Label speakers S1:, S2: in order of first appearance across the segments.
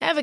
S1: Ever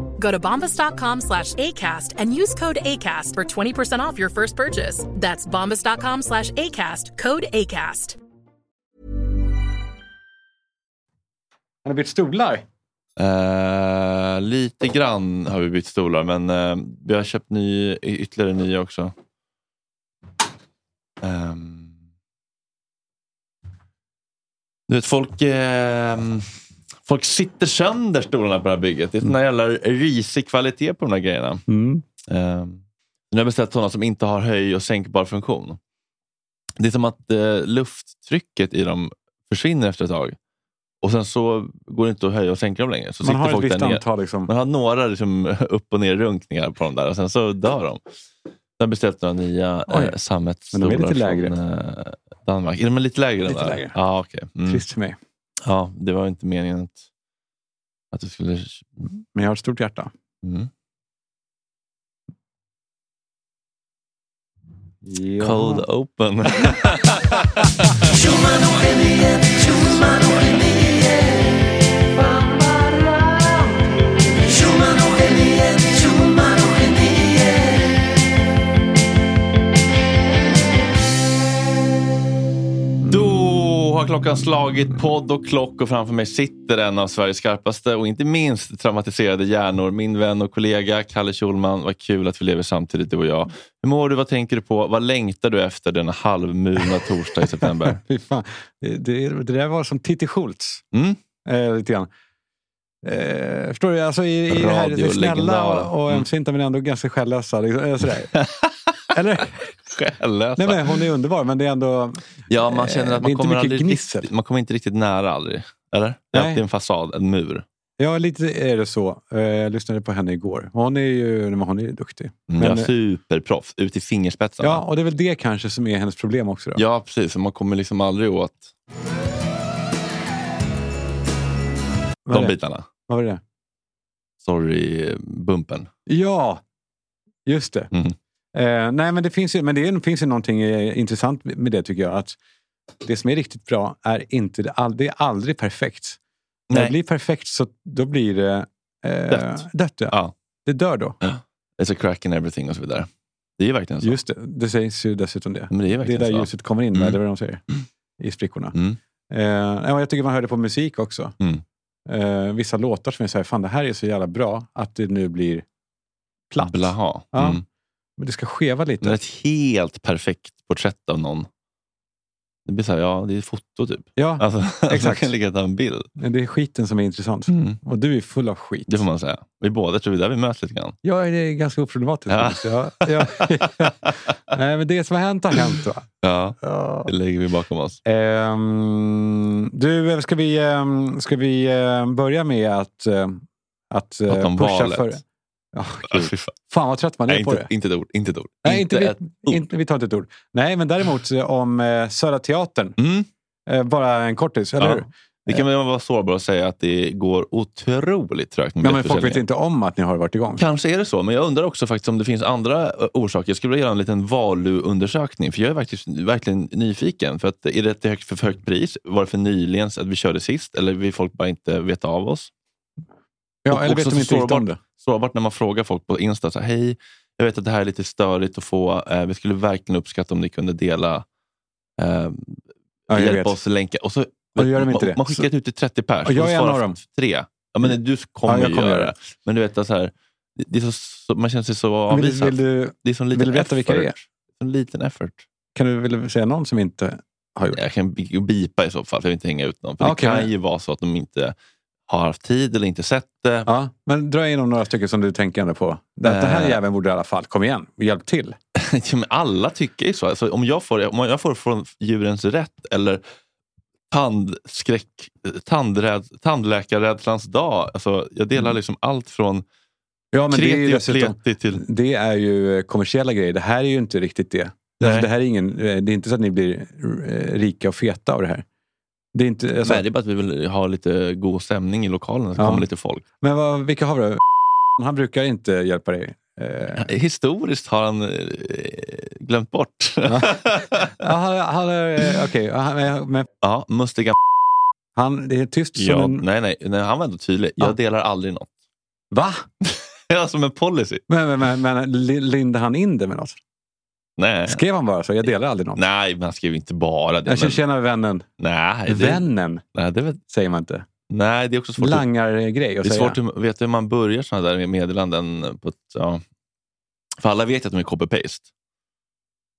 S2: Go to bombas.com slash ACAST and use code ACAST for 20% off your first purchase. That's bombas.com slash ACAST, code ACAST.
S3: Han har bytt stolar.
S4: Eh, lite grann har vi bytt stolar, men eh, vi har köpt ny, y- ytterligare nya också. Ehm. du vet, folk, ehm, folk sitter sönder stolarna på det här bygget. Det är sån här jävla risig kvalitet på de här grejerna.
S3: Mm.
S4: Ehm, nu har jag beställt sådana som inte har höj och sänkbar funktion. Det är som att eh, lufttrycket i dem försvinner efter ett tag. Och sen så går det inte att höja och sänka dem längre. Så
S3: Man
S4: sitter
S3: har ett
S4: folk
S3: visst
S4: där nere. Mm.
S3: antal. Liksom.
S4: Man har några liksom, upp och ner runkningar på dem där och sen så dör de. Sen beställde några nya
S3: Oj.
S4: eh,
S3: Men de
S4: sammetsstolar
S3: är lite lägre.
S4: från eh, Danmark. Är de lite lägre?
S3: Lite
S4: än där?
S3: lägre.
S4: Ja, okej. mm.
S3: Trist för mig,
S4: ja, det var inte meningen att, att det skulle...
S3: men jag har ett stort hjärta.
S4: Mm.
S3: Ja.
S4: Cold open. Då har klockan slagit podd och klock och framför mig sitter en av Sveriges skarpaste och inte minst traumatiserade hjärnor. Min vän och kollega Kalle Schulman. Vad kul att vi lever samtidigt du och jag. Hur mår du? Vad tänker du på? Vad längtar du efter denna halvmulna torsdag i september?
S3: Fy fan. Det, det, det där var som Titti Schultz.
S4: Mm.
S3: Eh, lite grann. Eh, förstår du? Alltså i, i det här det är snälla
S4: Radiolegendara.
S3: och, och
S4: Mm.
S3: ömsinta men ändå ganska själlösa. Liksom, eh, sådär. Eller?
S4: Själlösa.
S3: Nej, men hon är underbar, men det är ändå...
S4: Ja, man känner
S3: Eh, det är
S4: att man
S3: inte
S4: kommer,
S3: mycket
S4: aldrig
S3: gnissel.
S4: riktigt, man kommer inte riktigt nära aldrig. Eller? Det är
S3: Nej.
S4: alltid en fasad, en mur.
S3: Ja, lite är det så. Eh, Jag lyssnade på henne igår. Hon är ju, nej, men hon är ju duktig.
S4: Mm.
S3: Men- eh,
S4: Jag är superproffs, ut i fingerspetsarna.
S3: Ja, och det är väl det kanske som är hennes problem också. Då.
S4: Ja, precis. Man kommer liksom aldrig åt
S3: Vad är
S4: de
S3: det?
S4: bitarna.
S3: Vad var det? där?
S4: Sorry-bumpen.
S3: Ja, just det.
S4: Mm.
S3: Eh, nej, men det finns ju, men det är, finns ju någonting eh, intressant med det tycker jag. Att det som är riktigt bra är inte, det all, det är aldrig perfekt. När det
S4: Nej,
S3: blir perfekt så då blir det eh,
S4: Dött.
S3: dött ja.
S4: Ja.
S3: Det dör då.
S4: it's a crack in everything och så vidare. Det är ju verkligen så.
S3: Just det, det sägs ju dessutom det.
S4: Men det är
S3: Det är
S4: verkligen
S3: där
S4: så.
S3: ljuset kommer in,
S4: Mm.
S3: eller vad de säger. I sprickorna.
S4: Mm.
S3: Eh, ja, jag tycker man hörde på musik också.
S4: Mm.
S3: Eh, vissa låtar som är så här, fan det här är så jävla bra att det nu blir platt.
S4: Blaha.
S3: Ja.
S4: Mm.
S3: Men det ska skeva lite.
S4: Det är ett helt perfekt porträtt av någon. Det blir så här, ja, det är ett foto typ.
S3: Ja,
S4: Alltså, man
S3: Exakt. Mm.
S4: kan lika gärna ta en bild.
S3: men det är skiten som är intressant. Och du är full av skit.
S4: Det får man säga. Vi båda tror vi där vi möts lite grann.
S3: Ja, det är ganska oproblematiskt.
S4: Ja.
S3: faktiskt. Ja. Ja. Nej, men det som har hänt har hänt. Va?
S4: Ja,
S3: Ja.
S4: det lägger vi bakom oss.
S3: Ehm, du, eh, ska vi, ehm, ska vi eh, börja med att, eh, att eh,
S4: Prata om
S3: pusha
S4: valet.
S3: för... Ja,
S4: Ah,
S3: gud.
S4: fy fan.
S3: Fan vad trött man är
S4: Nej,
S3: på
S4: inte,
S3: det.
S4: inte ett ord. Inte ett ord.
S3: Nej, inte,
S4: ett
S3: vi, inte, vi tar inte ett ord. Nej, men däremot eh, om eh, Södra Teatern.
S4: Mm.
S3: Eh, bara en kortis, eller
S4: Ja.
S3: hur? Eh.
S4: Det kan väl vara sårbar att säga att det går otroligt trögt med
S3: Ja, men folk vet
S4: biljettförsäljningen.
S3: inte om att ni har varit igång.
S4: Kanske är det så, men jag undrar också faktiskt om det finns andra eh, orsaker. Jag skulle vilja göra en liten Valu-undersökning, för jag är faktiskt verkligen nyfiken. För att, är det ett högt, för högt pris? Var det för nyligen att vi körde sist? Eller vill folk bara inte veta av oss?
S3: Ja,
S4: Och
S3: eller vet
S4: också
S3: de inte riktigt om
S4: sårbart.
S3: det?
S4: sårbart när man frågar folk på Insta. Så här, Hej, jag vet att det här är lite störigt att få. Eh, vi skulle verkligen uppskatta om ni kunde dela. Eh,
S3: Ja, jag vet.
S4: hjälpa oss att länka. Och så,
S3: då gör de inte
S4: man,
S3: det.
S4: man skickar ut till 30 pers.
S3: Och jag
S4: de
S3: är en
S4: svarar
S3: av dem. Mm.
S4: Tre. Ja, men du kommer,
S3: Ja, jag
S4: ju
S3: kommer
S4: göra
S3: göra
S4: det. Men du vet, att så här, det- det är så, så, man känner sig så
S3: Vill,
S4: avvisad.
S3: vill du,
S4: det är som en
S3: vill
S4: liten
S3: du veta vilka det är?
S4: effort. En liten effort.
S3: kan du vill du säga någon som inte har gjort det?
S4: Jag kan bi- bipa i så fall, för jag vill inte hänga ut någon. För
S3: Okej,
S4: det kan
S3: men-
S4: ju vara så att de inte har haft tid eller inte sett det.
S3: Ja, men dra igenom några stycken som du tänker ändå på. Det, det här
S4: Eh.
S3: jäveln borde i alla fall, kom igen, hjälp till.
S4: Ja, men alla tycker ju så. Alltså, om, jag får, om jag får från djurens rätt eller tandskräck, tandräd, tandläkarrädslans dag. Alltså, jag delar liksom allt från
S3: Mm. Ja, men det är ju
S4: kreti och
S3: dessutom...
S4: pleti till...
S3: Det är ju eh, kommersiella grejer. Det här är ju inte riktigt det. Alltså,
S4: Nej.
S3: det, här är ingen, eh, det är inte så att ni blir eh, rika och feta av det här. Det är inte, alltså,
S4: Nej, det är bara att vi vill ha lite god stämning i lokalen, så
S3: Ja.
S4: kommer lite folk.
S3: Men vad, vilka har vi då? Han brukar inte hjälpa dig. Eh,
S4: Historiskt har han eh, glömt bort.
S3: ja, han, han, är- eh, okej, ja, han, men- men
S4: ja, mustiga
S3: han, det är tyst som
S4: ja,
S3: en...
S4: nej, nej, nej, han var ändå tydlig. Jag
S3: Ja.
S4: delar aldrig något.
S3: Va?
S4: Ja, som en policy.
S3: Men, men, men, men li- lindade han in det med något?
S4: Nej,
S3: Skrev han bara så? Jag delar aldrig något.
S4: nej men han skrev ju inte bara det.
S3: jag känner,
S4: Men,
S3: tjena vännen.
S4: nej, det,
S3: Vännen
S4: nej, det är väl
S3: säger man inte.
S4: Nej, det är också svårt. att-
S3: Langargrej att
S4: det är
S3: säga.
S4: svårt att veta hur man börjar sådana där meddelanden. På ett, ja. För alla vet ju att de är copy-paste.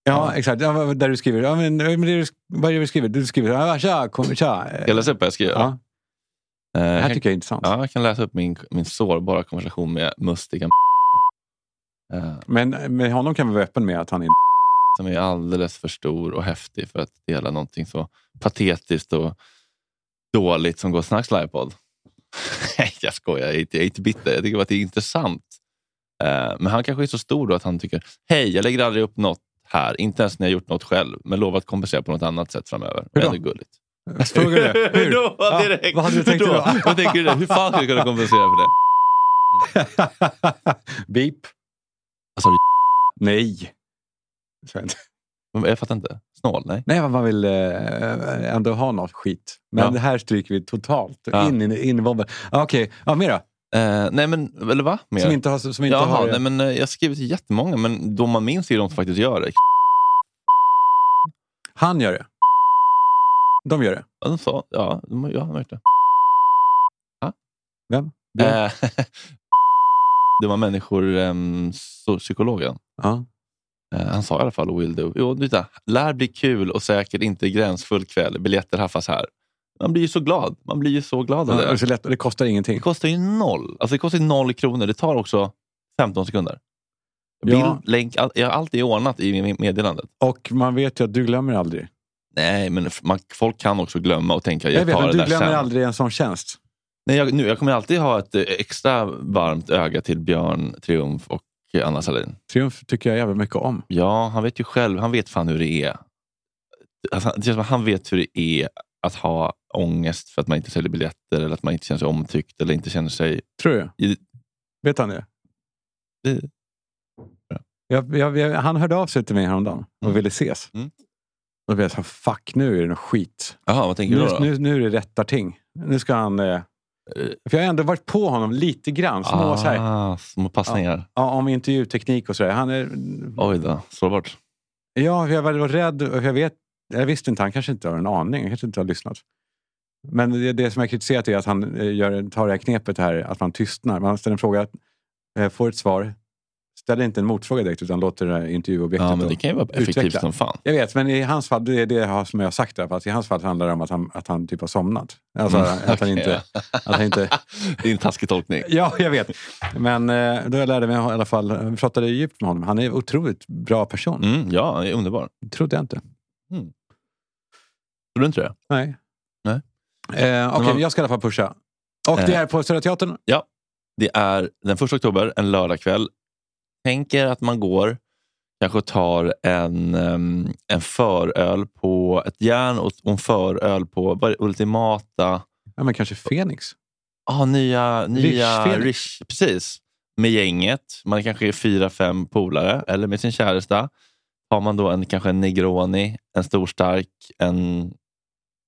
S3: Ja, exakt. Ja, vad- där du skriver. Ja, men, men det du, vad är det du skriver? Du skriver ja, tja, kom, tja. Eh,
S4: Jag läser upp vad jag skriver.
S3: Ja,
S4: Eh,
S3: det
S4: jag,
S3: här
S4: kan,
S3: tycker jag är intressant.
S4: ja, jag kan läsa upp min, min sårbara konversation med mustiga eh,
S3: Men med honom kan vi vara öppen med att han inte...
S4: som är alldeles för stor och häftig för att dela någonting så patetiskt och dåligt som går snacks livepodd. Nej, jag skojar. Jag är, inte, jag är inte bitter. Jag tycker bara att det är intressant. Eh, Men han kanske är så stor då att han tycker, hej, jag lägger aldrig upp något här. Inte ens när jag gjort något själv, men lovar att kompensera på något annat sätt framöver.
S3: Hur då?
S4: Det är gulligt.
S3: Frågar du?
S4: Hur då?
S3: Ja,
S4: Direkt.
S3: vad hade du tänkt
S4: Hur
S3: då?
S4: Vad tänker du? där? Hur fan skulle jag kunna kompensera för det?
S3: Beep.
S4: Alltså,
S3: Nej. Så jag inte.
S4: men jag fattar inte. Snål? Nej.
S3: Nej, man vill eh, ändå ha något skit. Men
S4: Ja.
S3: det här stryker vi totalt.
S4: Ja.
S3: In, in, in i bomben. Ja, Okej, ja, mer då?
S4: Eh, nej, men eller va? Mer?
S3: Som inte har... Som inte
S4: Jaha,
S3: har
S4: nej, men eh, jag har skrivit till jättemånga, men de man minns är ju de som faktiskt gör det.
S3: Han gör det. De gör det.
S4: Ja, de sa, ja, de, ja, de har gjort det. Ja.
S3: Vem?
S4: Det, det var människor, ehm, so- psykologen.
S3: Ja.
S4: Eh, han sa i alla fall will do. Jo, titta, lär bli kul och säkert inte gränsfull kväll. Biljetter haffas här. Man blir ju så glad. Man blir ju så glad av
S3: Ja,
S4: det.
S3: och så lätt, och det kostar
S4: Det
S3: ingenting.
S4: kostar ju noll. Alltså det kostar ju noll kronor. Det tar också 15 sekunder. Bild,
S3: Ja.
S4: länk, all, jag har alltid ordnat i med- meddelandet.
S3: Och man vet ju att du glömmer aldrig.
S4: Nej, men f- man, folk kan också glömma och tänka jag,
S3: Jag vet,
S4: tar
S3: men
S4: det
S3: du
S4: där
S3: glömmer
S4: sen.
S3: aldrig en sån tjänst.
S4: Nej, jag, nu, jag kommer alltid ha ett eh, extra varmt öga till Björn Triumf och Anna Salin.
S3: Triumf tycker jag jävligt mycket om.
S4: Ja, han vet ju själv. Han vet fan hur det är. Alltså, han- det känns som att han vet hur det är att ha ångest för att man inte säljer biljetter eller att man inte känner sig omtyckt eller inte känner sig...
S3: Tror jag.
S4: I-
S3: Vet han det?
S4: I-
S3: Jag, jag, jag, han hörde av sig till mig häromdagen och
S4: Mm.
S3: ville ses.
S4: Mm.
S3: Då blev jag så här, fuck nu är det något skit.
S4: Jaha, vad tänker
S3: Nu,
S4: du då?
S3: nu, nu är det rättarting. Nu ska han... Eh, För jag har ändå varit på honom lite grann. Små, så här,
S4: Ah, små passningar.
S3: ja, om intervjuteknik och sådär. Han är,
S4: Oj då, sårbart.
S3: ja, jag var rädd. och Jag, vet, jag visste inte, han kanske inte har en aning. Han kanske inte har lyssnat. Men det, det som jag kritiserat är att han eh, gör, tar det här knepet här, att man tystnar. Man ställer en fråga, eh, får ett svar, ställer inte en motfråga direkt utan låter det här intervjuobjektet
S4: Ja, men
S3: då-
S4: det kan ju vara effektivt
S3: Utveckla.
S4: som fan.
S3: Jag vet, men i hans fall, det är det jag har- som jag har sagt där, för att i hans fall handlar det om att han, att han typ har somnat. Alltså, att, han
S4: Mm, okej.
S3: inte, att han inte...
S4: Det är en taskig tolkning.
S3: Ja, jag vet. Men eh, då jag lärde mig i alla fall, pratade djupt med honom. Han är en otroligt bra person.
S4: Mm, ja, det är underbar.
S3: Trodde jag inte.
S4: Tror du inte det?
S3: Nej.
S4: Nej.
S3: Eh, Okej,
S4: Men man-
S3: jag ska i alla fall pusha. Och
S4: Eh.
S3: det är på Södra Teatern.
S4: Det är den 1 oktober, en lördagkväll. Tänk er att man går, kanske tar en, em, en föröl på ett järn och och en föröl på vad är det, Ultimata
S3: Ja, men kanske Fenix.
S4: ah, nya, nya
S3: Felix.
S4: Rish, precis. Med gänget. Man kanske är fyra, fem polare eller med sin käresta. Har man då en, kanske en Negroni, en stor stark, en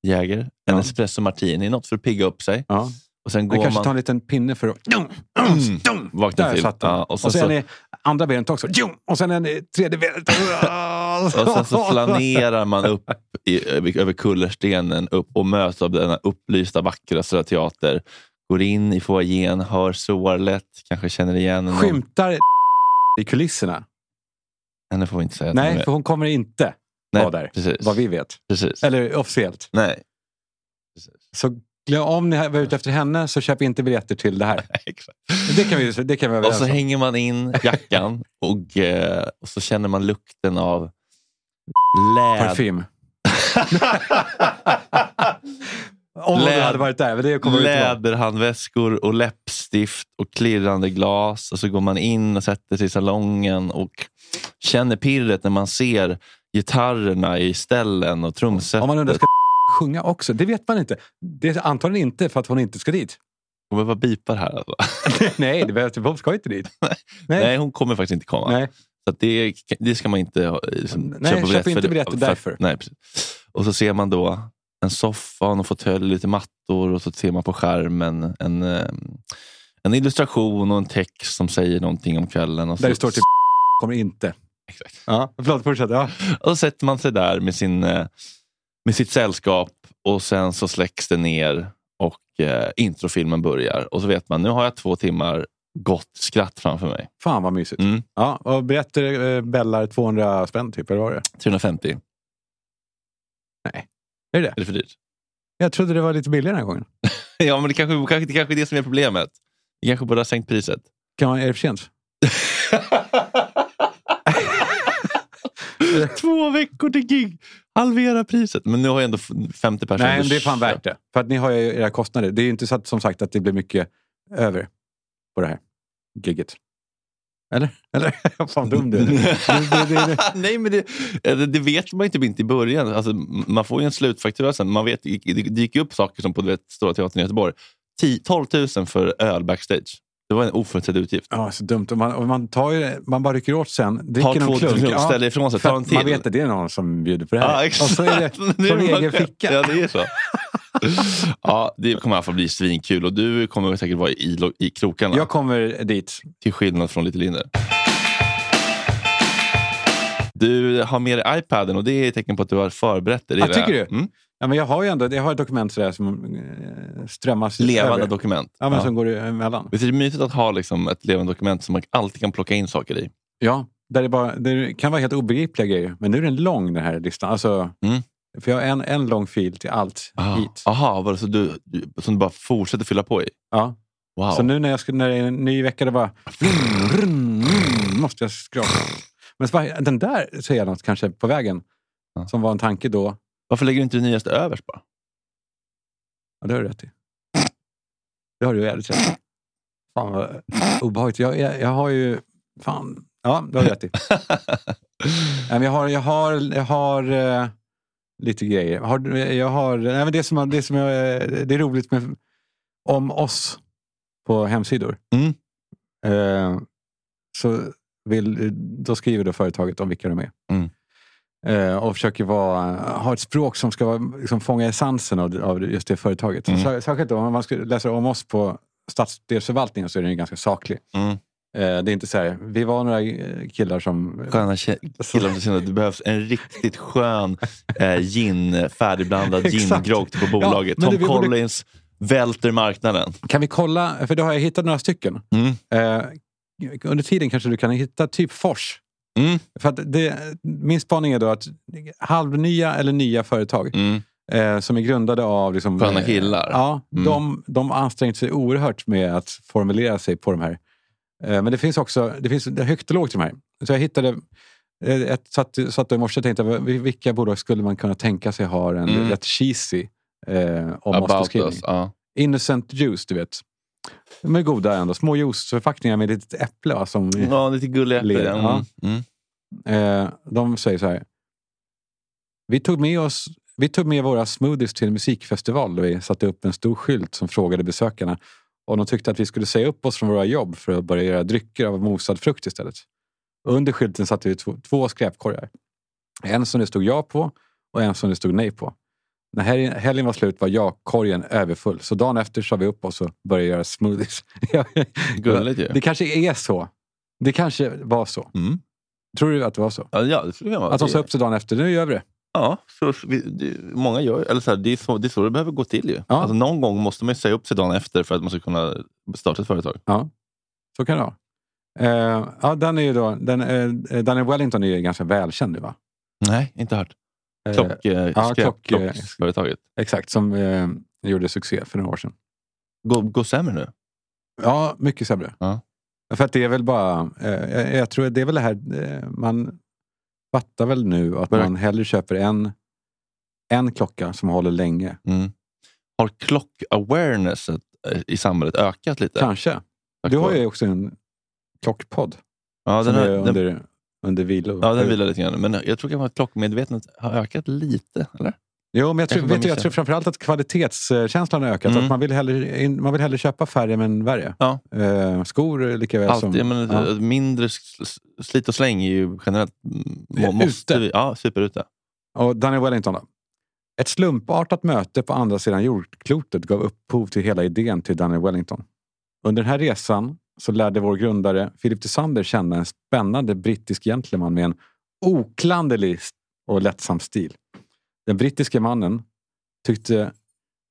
S4: Jäger, en
S3: Ja.
S4: espresso martini, något för att pigga upp sig.
S3: Ja.
S4: Och sen
S3: Man
S4: går
S3: kanske
S4: man...
S3: tar en liten pinne för att...
S4: Mm.
S3: Dum!
S4: Vakna
S3: Där
S4: till.
S3: satt den.
S4: Ja,
S3: och
S4: och
S3: sen,
S4: sen så-
S3: är andra benet också. Dum! Och sen är tredje benet.
S4: Och sen så flanerar man upp i, över- över kullerstenen upp och möts av denna upplysta, vackra Södra Teater. Går in i foajén, hör sorlet, kanske känner igen någon.
S3: skymtar i kulisserna.
S4: Henne får vi inte säga. att hon
S3: Nej,
S4: är-
S3: för hon kommer inte vara där,
S4: Precis.
S3: vad vi vet.
S4: precis.
S3: Eller officiellt.
S4: Nej,
S3: Så glöm, om ni var ute efter henne så köp inte biljetter till det här.
S4: exakt.
S3: Det kan vi, det kan vi vara
S4: Och så
S3: överens om.
S4: hänger man in jackan och, eh, och så känner man lukten av läder.
S3: Parfym. Om du
S4: Läd-
S3: hade varit där, men det kommer vi inte vara.
S4: Läderhandväskor och läppstift och klirrande glas. Och så går man in och sätter sig i salongen och känner pirret när man ser gitarrerna i ställen och
S3: Om
S4: trumsetet.
S3: man undrar, ska sjunga också? Det vet man inte. Det är antagligen inte för att hon inte ska dit.
S4: Hon behöver bipa det här. Alltså.
S3: Nej, det behövs, hon ska inte dit.
S4: Nej.
S3: Nej.
S4: hon kommer faktiskt inte komma.
S3: Nej.
S4: Så att det, det ska man inte ha- liksom,
S3: Nej, köp
S4: biljett
S3: inte
S4: det-
S3: biljetter
S4: för-
S3: därför.
S4: Nej, precis. och så ser man då en soffa, och en fåtölj, lite mattor och så ser man på skärmen en, eh, en illustration och en text som säger någonting om kvällen. Och så,
S3: Där det står typ kommer inte.
S4: Exakt.
S3: Ja, förlåt, fortsätt. Ja.
S4: Och så sätter man sig där med, sin, eh, med sitt sällskap och sen så släcks det ner och eh, introfilmen börjar. Och så vet man, nu har jag två timmar gott skratt framför mig.
S3: Fan vad mysigt.
S4: Mm.
S3: Ja, och biljetter eh, bellar 200 spänn typ, eller vad var det?
S4: 350,
S3: Är det det?
S4: är det för dyrt?
S3: Jag trodde det var lite billigare den här gången.
S4: Ja, men det kanske, kanske, det kanske är det som är problemet. Vi kanske borde ha sänkt priset.
S3: Kan man, är det för sent?
S4: Två veckor till gig! Halvera priset. Men nu har jag ändå f- 50 personer.
S3: Nej, men det är fan värt det. För att ni har ju era kostnader. Det är ju inte så att, som sagt att det blir mycket över på det här gigget. Eller? Eller? Vad fan dum du är. Det- det- det-
S4: Nej, men det, det, det vet man ju typ inte i början. Alltså, man får ju en slutfaktura sen. Man vet, det dyker ju upp saker som på du vet, Stora Teatern i Göteborg. 10, 12 000 för öl backstage. Det var en oförutsedd utgift.
S3: Ja, så dumt. Och man, och man, tar ju, det- man bara rycker åt sen, dricker
S4: Ta
S3: någon
S4: två
S3: klunk.
S4: klunk,
S3: Ja,
S4: ställer ifrån sig,
S3: för
S4: ta
S3: att
S4: en till.
S3: Man vet att det är någon som bjuder på det här.
S4: Ja,
S3: och
S4: exakt.
S3: så är det
S4: Nu
S3: från
S4: är man
S3: egen
S4: själv.
S3: ficka.
S4: Ja, det är så. ja, det kommer i alla fall bli svinkul och du kommer säkert vara i, lo- i krokarna.
S3: Jag kommer dit.
S4: Till skillnad från Little Linder. Du har med dig iPaden och det är ett tecken på att du har förberett dig. Det
S3: Ja,
S4: gillar jag.
S3: tycker du?
S4: Mm.
S3: Ja, men jag har ju ändå jag har ett dokument sådär som eh, strömmas
S4: Levande
S3: över.
S4: dokument.
S3: Ja, men
S4: Ja.
S3: som går emellan.
S4: Visst är det mysigt att ha liksom ett levande dokument som man alltid kan plocka in saker i?
S3: Ja, där det, bara, det kan vara helt obegripliga grejer. Men nu är den lång den här listan. Alltså,
S4: Mm. Ah.
S3: För jag har en, en lång fil till allt hit.
S4: Aha, var det så du, du, som du bara fortsätter fylla på i?
S3: Ja.
S4: Wow.
S3: Så nu när, jag ska, när det är en ny vecka, det bara... vrrn, vrrn, vrrn, måste jag skrapa. Men så bara, den där ser jag något kanske på vägen.
S4: Ja.
S3: Som var en tanke då.
S4: Varför lägger du inte det nyaste överst bara?
S3: Ja, det har du rätt i. Det har du jävligt rätt i. Fan vad obehagligt. Jag, jag, jag har ju... Fan. Ja, det har du rätt i. Nej, men jag har, jag har, jag har eh, lite grejer. Har, du- jag har, nej, men det, som, har- det, som jag, eh, det är roligt med om oss på hemsidor.
S4: Mm.
S3: Eh, så vill, då skriver då företaget om vilka de är.
S4: Mm.
S3: Eh, och försöker vara, ha ett språk som ska vara, liksom, fånga essensen av, av just det företaget.
S4: Mm.
S3: Sär- Särskilt då, om man skulle läsa om oss på stadsdelsförvaltningen så är den ju ganska saklig.
S4: Mm.
S3: Eh, det är inte så här, vi var några eh, killar som...
S4: Sköna tje- killar som känner att det behövs en riktigt skön eh, gin, färdigblandad
S3: Exakt.
S4: gin-grogg på bolaget.
S3: men
S4: Tom
S3: det- vi borde-
S4: Collins välter marknaden.
S3: Kan vi kolla, för då har jag hittat några stycken.
S4: Mm.
S3: Eh, under tiden kanske du kan hitta typ Fors.
S4: Mm.
S3: För att det, min spaning är då att halvnya eller nya företag
S4: Mm.
S3: eh, som är grundade av... Liksom,
S4: Sköna
S3: eh,
S4: killar.
S3: Ja,
S4: Mm.
S3: de, de har ansträngt sig oerhört med att formulera sig på de här. Eh, men det finns också det finns högt och lågt i de här. Så jag hittade... eh, Ett, satt, satt och i morse och tänkte, "Vil- vilka bolag skulle man kunna tänka sig ha en
S4: Mm.
S3: rätt cheesy eh, om
S4: About
S3: oss-beskrivning?
S4: us. Ja.
S3: Innocent juice, du vet. De är goda ändå. Små juiceförpackningar med ett litet äpple. Va, som,
S4: ja, lite gulliga äpplen.
S3: Lera,
S4: Mm.
S3: ja.
S4: Mm.
S3: eh, de säger så här. Vi tog, med oss, vi tog med våra smoothies till en musikfestival där vi satte upp en stor skylt som frågade besökarna om de tyckte att vi skulle säga upp oss från våra jobb för att börja göra drycker av mosad frukt istället. Under skylten satte vi två, två skräpkorgar. En som det stod ja på och en som det stod nej på. När helgen- helgen var slut var ja-korgen överfull, så dagen efter sa vi upp oss och började göra smoothies.
S4: Gulligt ju.
S3: Det kanske är så. Det kanske var så.
S4: Mm.
S3: Tror du att det var så?
S4: Ja, ja, det skulle jag vara.
S3: Alltså, Att de sa upp sig dagen efter, nu gör vi det.
S4: Ja, så, så vi, det, många gör eller så här, det, är så, det är så det behöver gå till. ju.
S3: Ja.
S4: Alltså, någon gång måste man ju säga upp sig dagen efter för att man ska kunna starta ett företag.
S3: Så kan det vara. Eh, ja, den är ju då, den, eh, Daniel Wellington är ju ganska välkänd nu va?
S4: Nej, inte hört.
S3: Eh,
S4: Klock, eh,
S3: ja,
S4: skräp-
S3: klock, eh,
S4: klockföretaget.
S3: Exakt, som eh, gjorde succé för några år sedan.
S4: Går gå sämre nu?
S3: Ja, mycket sämre.
S4: Ja.
S3: För att det är väl bara, eh, jag, jag tror att det är väl det här, eh, man fattar väl nu att
S4: Börja-
S3: man hellre köper en, en klocka som håller länge.
S4: Mm. Har klock-awarenesset eh, i samhället ökat lite?
S3: Kanske.
S4: Tack
S3: Du har
S4: vare-
S3: ju också en klockpodd
S4: ja, den
S3: som
S4: har,
S3: är
S4: den,
S3: under, under vilo.
S4: ja, den vilar lite grann. Men jag tror kanske att klockmedvetandet har ökat lite. Eller?
S3: Jo, men jag tror,
S4: Kanske bara
S3: vet du, jag
S4: missar.
S3: tror framförallt att kvalitetskänslan har ökat.
S4: Mm.
S3: Att man, vill hellre, in- man vill hellre köpa färre men värre.
S4: Ja.
S3: Eh, skor lika väl
S4: Alltid,
S3: som...
S4: ja, men,
S3: ja.
S4: eh, Mindre s- s- slit och släng är ju generellt... mm,
S3: Det är
S4: Måste
S3: ute.
S4: vi, ja, superute.
S3: Och Daniel Wellington då? Ett slumpartat möte på andra sidan jordklotet gav upphov till hela idén till Daniel Wellington. Under den här resan så lärde vår grundare Philip Tisander känna en spännande brittisk gentleman med en oklanderlig och lättsam stil. Den brittiske mannen tyckte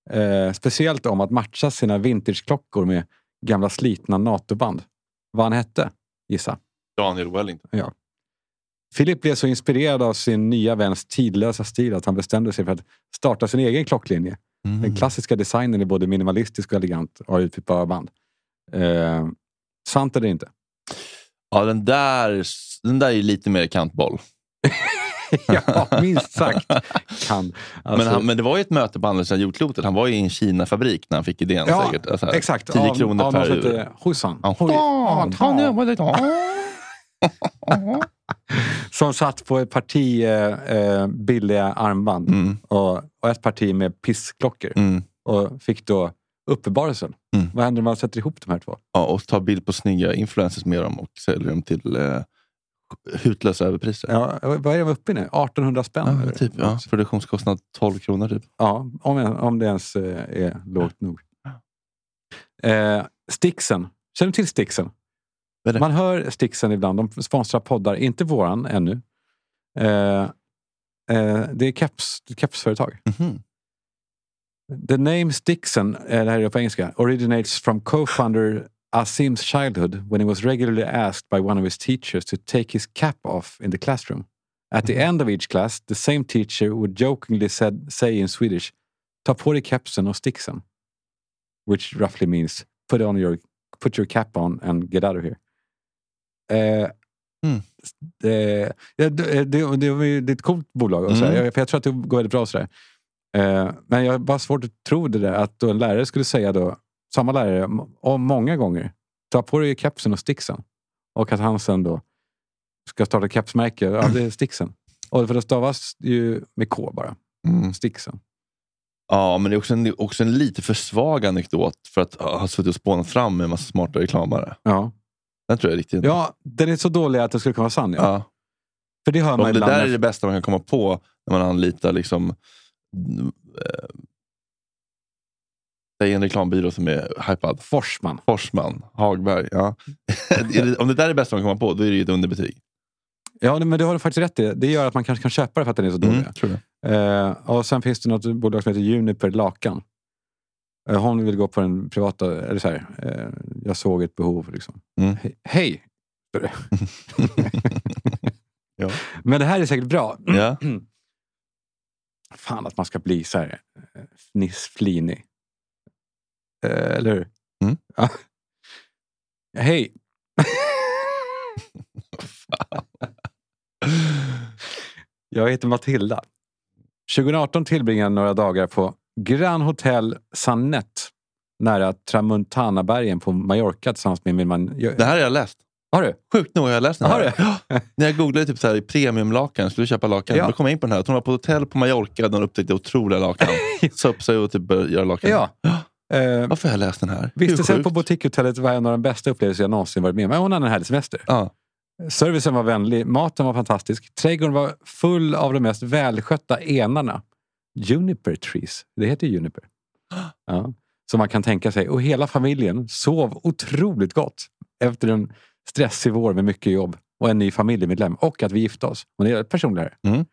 S3: eh, speciellt om att matcha sina vintageklockor med gamla slitna NATO-band. Vad han hette? Gissa.
S4: Daniel Wellington.
S3: Philip blev så inspirerad av sin nya väns tidlösa stil att han bestämde sig för att starta sin egen klocklinje.
S4: Mm.
S3: Den klassiska designen är både minimalistisk och elegant och har utbytbara band. Eh, sant eller inte?
S4: Ja, den där, den där är ju lite mer kantboll.
S3: ja, minst sagt. Kan. Alltså,
S4: men, han, men det var ju ett möte på andra sidan jordklotet. Han var ju i en Kina-fabrik när han fick idén.
S3: Ja,
S4: säkert. Alltså, här,
S3: exakt.
S4: 10 kronor
S3: av,
S4: per
S3: av
S4: ur.
S3: Hosan.
S4: Ja. Ja, Daniel Wellington.
S3: Som satt på ett parti eh, eh, billiga armband
S4: Mm,
S3: och, och ett parti med pissklockor.
S4: mm.
S3: Och fick då uppenbarelsen.
S4: Mm.
S3: Vad händer om man sätter ihop de här två?
S4: Ja, och ta bild på snygga influencers med dem och sälja dem till eh, hutlösa överpriser.
S3: Ja, vad är de uppe i nu? 1800 spänn?
S4: Ja,
S3: eller?
S4: typ, ja. Produktionskostnad 12 kronor typ.
S3: Ja, om, om det ens eh, är lågt nog. Eh, Stixen. Känner du till Stixen?
S4: Vad är det?
S3: Man hör Stixen ibland. De sponsrar poddar. Inte våran ännu. Eh, eh, det är keps, ett kepsföretag.
S4: Mhm.
S3: The name Stixen, eh, det här är på engelska, originates from co-founder Asim's childhood when he was regularly asked by one of his teachers to take his cap off in the classroom. At the end of each class, the same teacher would jokingly said, say in Swedish, ta på dig kepsen och Stixen. Which roughly means put, on your, put your cap on and get out of here. Eh,
S4: Mm.
S3: eh, ja, det, det, det, var ju- det är ett coolt bolag. Och så här.
S4: Mm.
S3: Jag, för jag tror att det går väldigt bra. Så där. Eh, men jag har bara svårt att tro det där att då en lärare skulle säga då, samma lärare, m- om många gånger, ta på dig kepsen och sticksen. Och att han sen då ska starta kepsmärke, ja det är sticksen. Och för det stavas ju med K bara,
S4: Mm.
S3: sticksen.
S4: Ja, men det är också en, också en lite för svag anekdot för att ha suttit och spånat fram med en massa smarta reklamare.
S3: Ja.
S4: Den tror jag är riktigt...
S3: ja, den är så dålig att den skulle kunna vara sann. Ja.
S4: Ja.
S3: För det hör man
S4: Och det
S3: ibland.
S4: där är
S3: när-
S4: det bästa man kan komma på när man anlitar liksom, eh, säg en reklambyrå som är hypad.
S3: Forsman.
S4: Forsman, Hagberg. Ja.
S3: Mm.
S4: Är det- Om det där är det bästa man kan komma på, då är det ju ett underbetyg.
S3: Ja, men det har du faktiskt rätt i. Det gör att man kanske kan köpa det för att den är så dålig.
S4: tror jag.
S3: Eh, och sen finns det något bolag som heter Juniper Lakan. Eh, hon vill gå på den privata, eller så här, eh, jag såg ett behov. Liksom.
S4: Mm.
S3: He- Hej! står det.
S4: Ja.
S3: Men det här är säkert bra.
S4: Ja.
S3: Fan att man ska bli så här eh, fniss, flinig. Eh, eller hur?
S4: Mm.
S3: Ja. Hej! Jag heter Matilda. 2018 tillbringade jag några dagar på Grand Hotel Sanet nära Tramuntanabergen på Mallorca tillsammans med min man. Jag,
S4: Det här har jag läst.
S3: Har du?
S4: Sjukt nog har jag läst den
S3: Har
S4: här. Ja. När jag googlade typ så här, premiumlakan, skulle du köpa lakan?
S3: Ja.
S4: Då kom jag in på den här. Att Hon var på hotell på Mallorca där hon upptäckte otroliga lakan. Sa upp sig och typ började göra lakan.
S3: Ja. Eh,
S4: Varför har jag läst den här?
S3: Vistelsen
S4: Hur
S3: på
S4: sjukt.
S3: Boutiquehotellet var en av de bästa upplevelser jag någonsin varit med om. Men Hon hade en härlig semester.
S4: Ja.
S3: Servicen var vänlig, maten var fantastisk, trädgården var full av de mest välskötta enarna. Juniper trees, det heter ju juniper. Ja. Som man kan tänka sig. Och hela familjen sov otroligt gott efter en stressig vår med mycket jobb och en ny familjemedlem och att vi gifte oss. Hon är personlig här.
S4: Mm.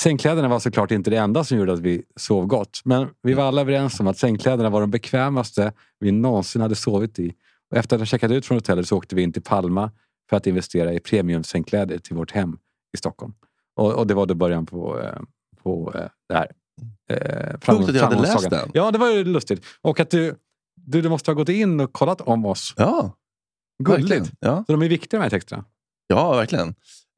S3: Sängkläderna var såklart inte det enda som gjorde att vi sov gott. Men vi var alla överens om att sängkläderna var de bekvämaste vi någonsin hade sovit i. Och efter att ha checkat ut från hotellet så åkte vi in till Palma för att investera i premiumsängkläder till vårt hem i Stockholm. Och, och det var då början på, eh, på eh, det här. Eh,
S4: Sjukt att jag hade läst
S3: framgångssagan.
S4: den.
S3: Ja, det var ju lustigt. Och att du, du, du måste ha gått in och kollat om oss.
S4: Ja, verkligen.
S3: Gulligt.
S4: Ja,
S3: Så de är viktiga de här texterna.
S4: ja verkligen.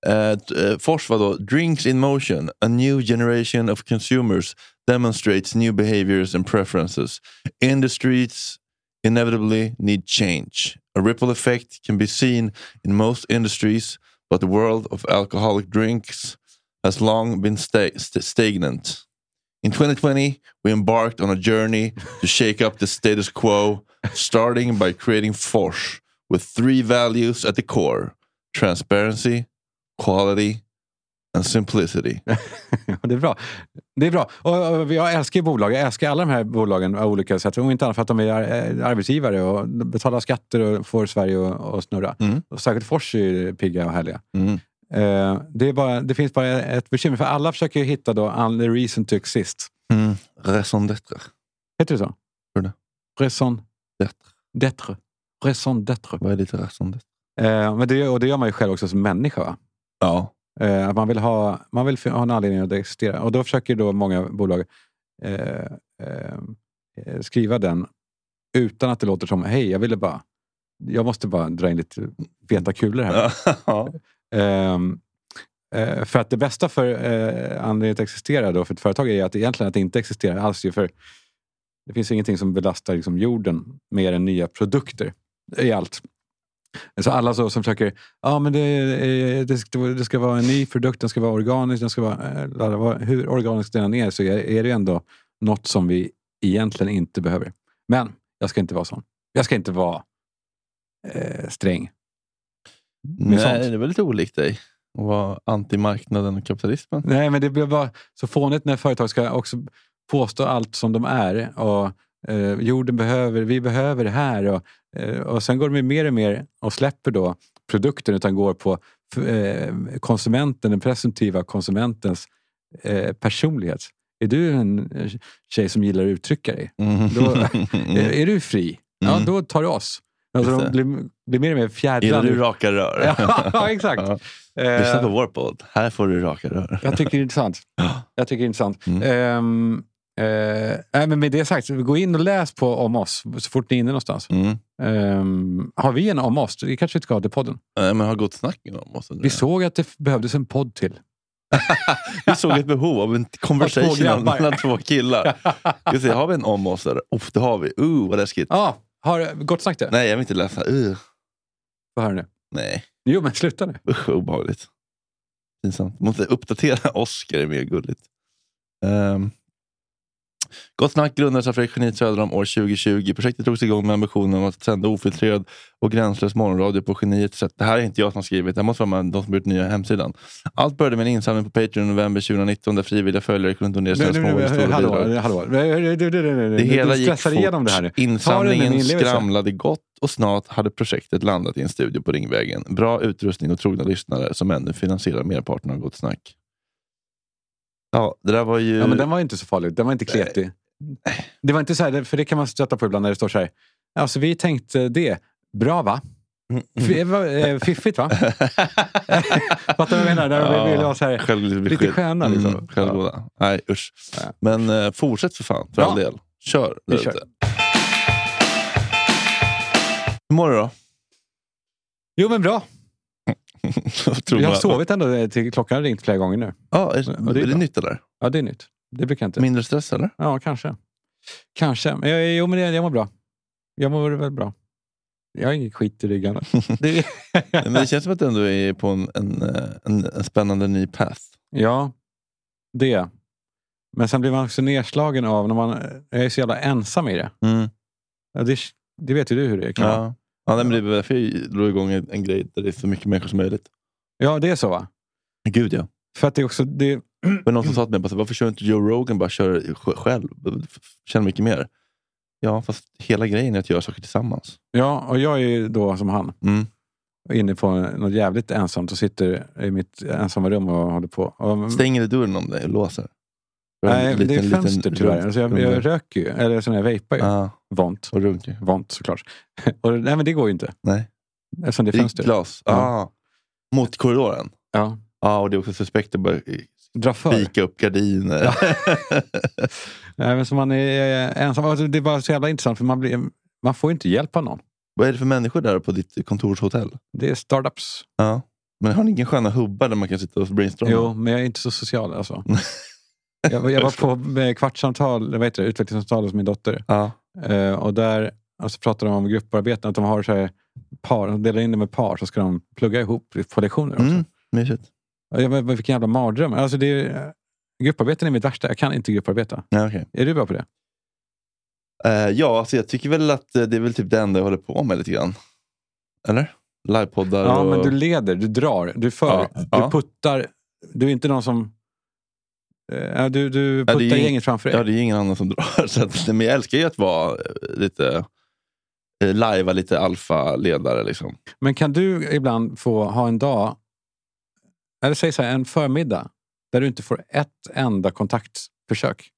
S4: Eh, t- eh, Fors var då Drinks in motion, a new generation of consumers demonstrates new behaviors and preferences. Industries inevitably need change. A ripple effect can be seen in most industries, but the world of alcoholic drinks has long been sta- st- stagnant. In 2020, we embarked on a journey to shake up the status quo, starting by creating Force with three values at the core transparency, quality, and simplicity.
S3: Ja, det är bra. Det är bra. Och, och jag älskar ju bolag. Jag älskar alla de här bolagen av olika sätt. Om inte annat för att de är ar- eh, arbetsgivare och betalar skatter och får Sverige att att snurra.
S4: Mm.
S3: Och särskilt Fors är ju pigga och härliga.
S4: Mm.
S3: Eh, det, är bara, det finns bara ett bekymmer, för alla försöker ju hitta då all reason to exist.
S4: Mm. Raison d'être.
S3: Heter det så?
S4: Hur det?
S3: Raison
S4: D'être.
S3: d'être. Raison d'être.
S4: Vad är ditt raison d'être?
S3: Eh, men det, och det gör man ju själv också som människa. Va?
S4: Ja.
S3: Eh, att man vill, ha, man vill ha en anledning att existera. Och då försöker då många bolag eh, eh, eh, skriva den utan att det låter som hej, jag ville bara jag måste bara dra in lite feta kulor här.
S4: Ja.
S3: Ehm, eh, för att det bästa för eh, anledningen att existera då för ett företag är ju att egentligen att det inte existerar alls. ju, För det finns ju ingenting som belastar liksom jorden mer än nya produkter i allt. Så alla så, som försöker, ja men det, eh, det, ska, det ska vara en ny produkt, den ska vara organisk, den ska vara, eh, la- la- vad- hur organisk den än är så är, är det ju ändå något som vi egentligen inte behöver. Men jag ska inte vara sån. Jag ska inte vara eh, sträng.
S4: Nej,
S3: sånt.
S4: det är väl lite olikt dig. Att vara antimarknaden och kapitalismen.
S3: Nej, men det blir bara så fånigt när företag ska också påstå allt som de är. Och, eh, jorden behöver, vi behöver det här. Och, eh, och sen går de ju mer och mer och släpper då produkten utan går på f- eh, konsumenten, den presumtiva konsumentens eh, personlighet. Är du en eh, tjej som gillar att uttrycka dig?
S4: Mm.
S3: Då- Är, är du fri? Ja,
S4: Mm.
S3: då tar du oss. Alltså,
S4: Just
S3: de
S4: det.
S3: blir, blir mer och mer
S4: Gillar
S3: fjädrande.
S4: du raka rör?
S3: ja, exakt.
S4: Ja.
S3: Eh,
S4: Lyssna på vår podd. Här får du raka rör.
S3: Jag tycker det är intressant.
S4: Ja.
S3: Jag tycker det är intressant.
S4: Mm.
S3: Ehm, eh, nej, men med det sagt, gå in och läs på om oss så fort ni är inne någonstans.
S4: Mm.
S3: Ehm, har vi en om oss? Det kanske vi ska ha till podden.
S4: Nej, men har gått snacken om oss. undrar
S3: Vi
S4: jag.
S3: såg att det f- behövdes en podd till.
S4: Vi såg ett behov av en
S3: Av två
S4: conversation
S3: grabbar.
S4: mellan två killar. Ska vi se, har vi en om oss? Där? Uff, det har vi. Uh, vad läskigt.
S3: Ja, har gott snack det?
S4: Nej, jag vill inte läsa. Uh,
S3: Vad hör ni?
S4: nej,
S3: Jo, men sluta nu.
S4: usch vad obehagligt. Pinsamt. Måste uppdatera Oscar, är mer gulligt. Ehm, Gott Snack grundades av Fredrik Geniet Söderholm år 2020. Projektet drogs igång med ambitionen om att sända ofiltrerad och gränslös morgonradio på Geniets sätt. Det här är inte jag som har skrivit, det här måste vara de som har gjort nya hemsidan. Allt började med en insamling på Patreon i november 2019 där frivilliga följare kunde donera sina
S3: Nu, nu,
S4: små
S3: nu,
S4: och stora
S3: hallå,
S4: bidrag.
S3: hallå. Du, du, du, du, du, du,
S4: Det hela
S3: du
S4: gick
S3: stressar
S4: fort.
S3: igenom det här nu. Ta det med en
S4: Insamlingen
S3: inlevelse.
S4: skramlade gott och snart hade projektet landat i en studio på Ringvägen. Bra utrustning och trogna lyssnare som ännu finansierar merparten av Gott Snack. Ja, det där var ju...
S3: Ja, men den var ju inte så farlig. Den var inte kletig. Det var inte så här, för det kan man stöta på ibland när det står så här. Alltså, vi tänkte det. Bra va? F- va- eh, Fiffigt va? Fattar du vad jag menar? När vi vill ha så här, lite sköna liksom.
S4: Mm, självgoda. Nej, usch.
S3: Ja.
S4: Men eh, fortsätt för fan, för
S3: Ja.
S4: all del. Kör.
S3: Vi
S4: där
S3: kör.
S4: ute. Hur mår du då?
S3: Jo men bra.
S4: Tror
S3: Jag har
S4: man-
S3: sovit ändå eh, till klockan har ringt flera gånger nu.
S4: Ja, är,
S3: Ja,
S4: det
S3: det
S4: är
S3: är
S4: det
S3: bra.
S4: nytt där?
S3: Ja det är nytt. Det brukar jag inte.
S4: Mindre stress eller?
S3: Ja kanske. Kanske. Men jag, jo men jag, jag mår bra. Jag mår väl bra. Jag har inget skit i ryggen. Det-
S4: Men det känns som att du ändå är på en, en, eh, en, en spännande ny path.
S3: Ja, det. Men sen blir man också nedslagen av när man eh, jag är så jävla ensam i det. Ja, det, det vet ju du hur det kan vara.
S4: Mm, Ja. Ja, nej, men det var därför jag drog igång en, en grej där det är så mycket människor som möjligt.
S3: Ja, det är så va?
S4: Gud ja.
S3: För att det är också... Det,
S4: Det var någon som sa till mig, bara så, varför kör inte Joe Rogan bara kör sj- själv? Känner mycket mer. Ja, fast hela grejen är att göra saker tillsammans.
S3: ja, och jag är ju då som han.
S4: Mm.
S3: och Inne på något jävligt ensamt och sitter i mitt ensamma rum och håller på. Och,
S4: Stänger du dörren om dig och låser?
S3: Mm. nej,
S4: En liten-
S3: det är
S4: liten
S3: fönster tyvärr.
S4: rund-
S3: Alltså jag,
S4: rund-
S3: jag röker ju. Eller sån här vejpar ju.
S4: Ja,
S3: Vont.
S4: och runkar.
S3: Vont såklart. och, nej, men det går ju inte.
S4: Nej.
S3: Eftersom det är
S4: I
S3: fönster.
S4: glas.
S3: Ja.
S4: Ah. Mot korridoren.
S3: Ja.
S4: Ja, och det är också suspekt att börja
S3: Dra för.
S4: vika upp gardiner.
S3: Nej, men så man är eh, ensam. Alltså, det är bara så jävla intressant för man, blir, man får ju inte hjälp av någon.
S4: Vad är det för människor där på ditt kontorshotell?
S3: Det är startups.
S4: Ja. Men har ni ingen sköna hubbar där man kan sitta och brainstorma?
S3: Jo, men jag är inte så social alltså. jag, var- jag var på eh, kvartssamtal, eller vad heter det, utvecklingssamtal hos min dotter.
S4: Ja.
S3: Eh, och där alltså, pratade de om grupparbeten, att de har så här par, de delar in dem i par så ska de plugga ihop på lektioner också.
S4: Mm, mysigt.
S3: Och jag, bara, men vilken jävla mardröm. Alltså, det är, grupparbeten är mitt värsta. Jag kan inte grupparbeta.
S4: Ja, okej.
S3: Är du bra på det?
S4: Eh, ja, alltså jag tycker väl att eh, det är väl typ det enda jag håller på med lite grann. Eller? Livepoddar
S3: Ja,
S4: och...
S3: men du leder, du drar, du för,
S4: Ja,
S3: du
S4: ja.
S3: puttar. Du är inte någon som... Eh, du, du
S4: det är
S3: puttar
S4: ju ing-
S3: gänget framför dig.
S4: Ja, det är ju ingen annan som drar. Så att, men jag älskar ju att vara eh, lite... eh, Lajva lite alfa-ledare liksom.
S3: Men kan du ibland få ha en dag, eller säg så här, en förmiddag, där du inte får ett enda kontaktförsök?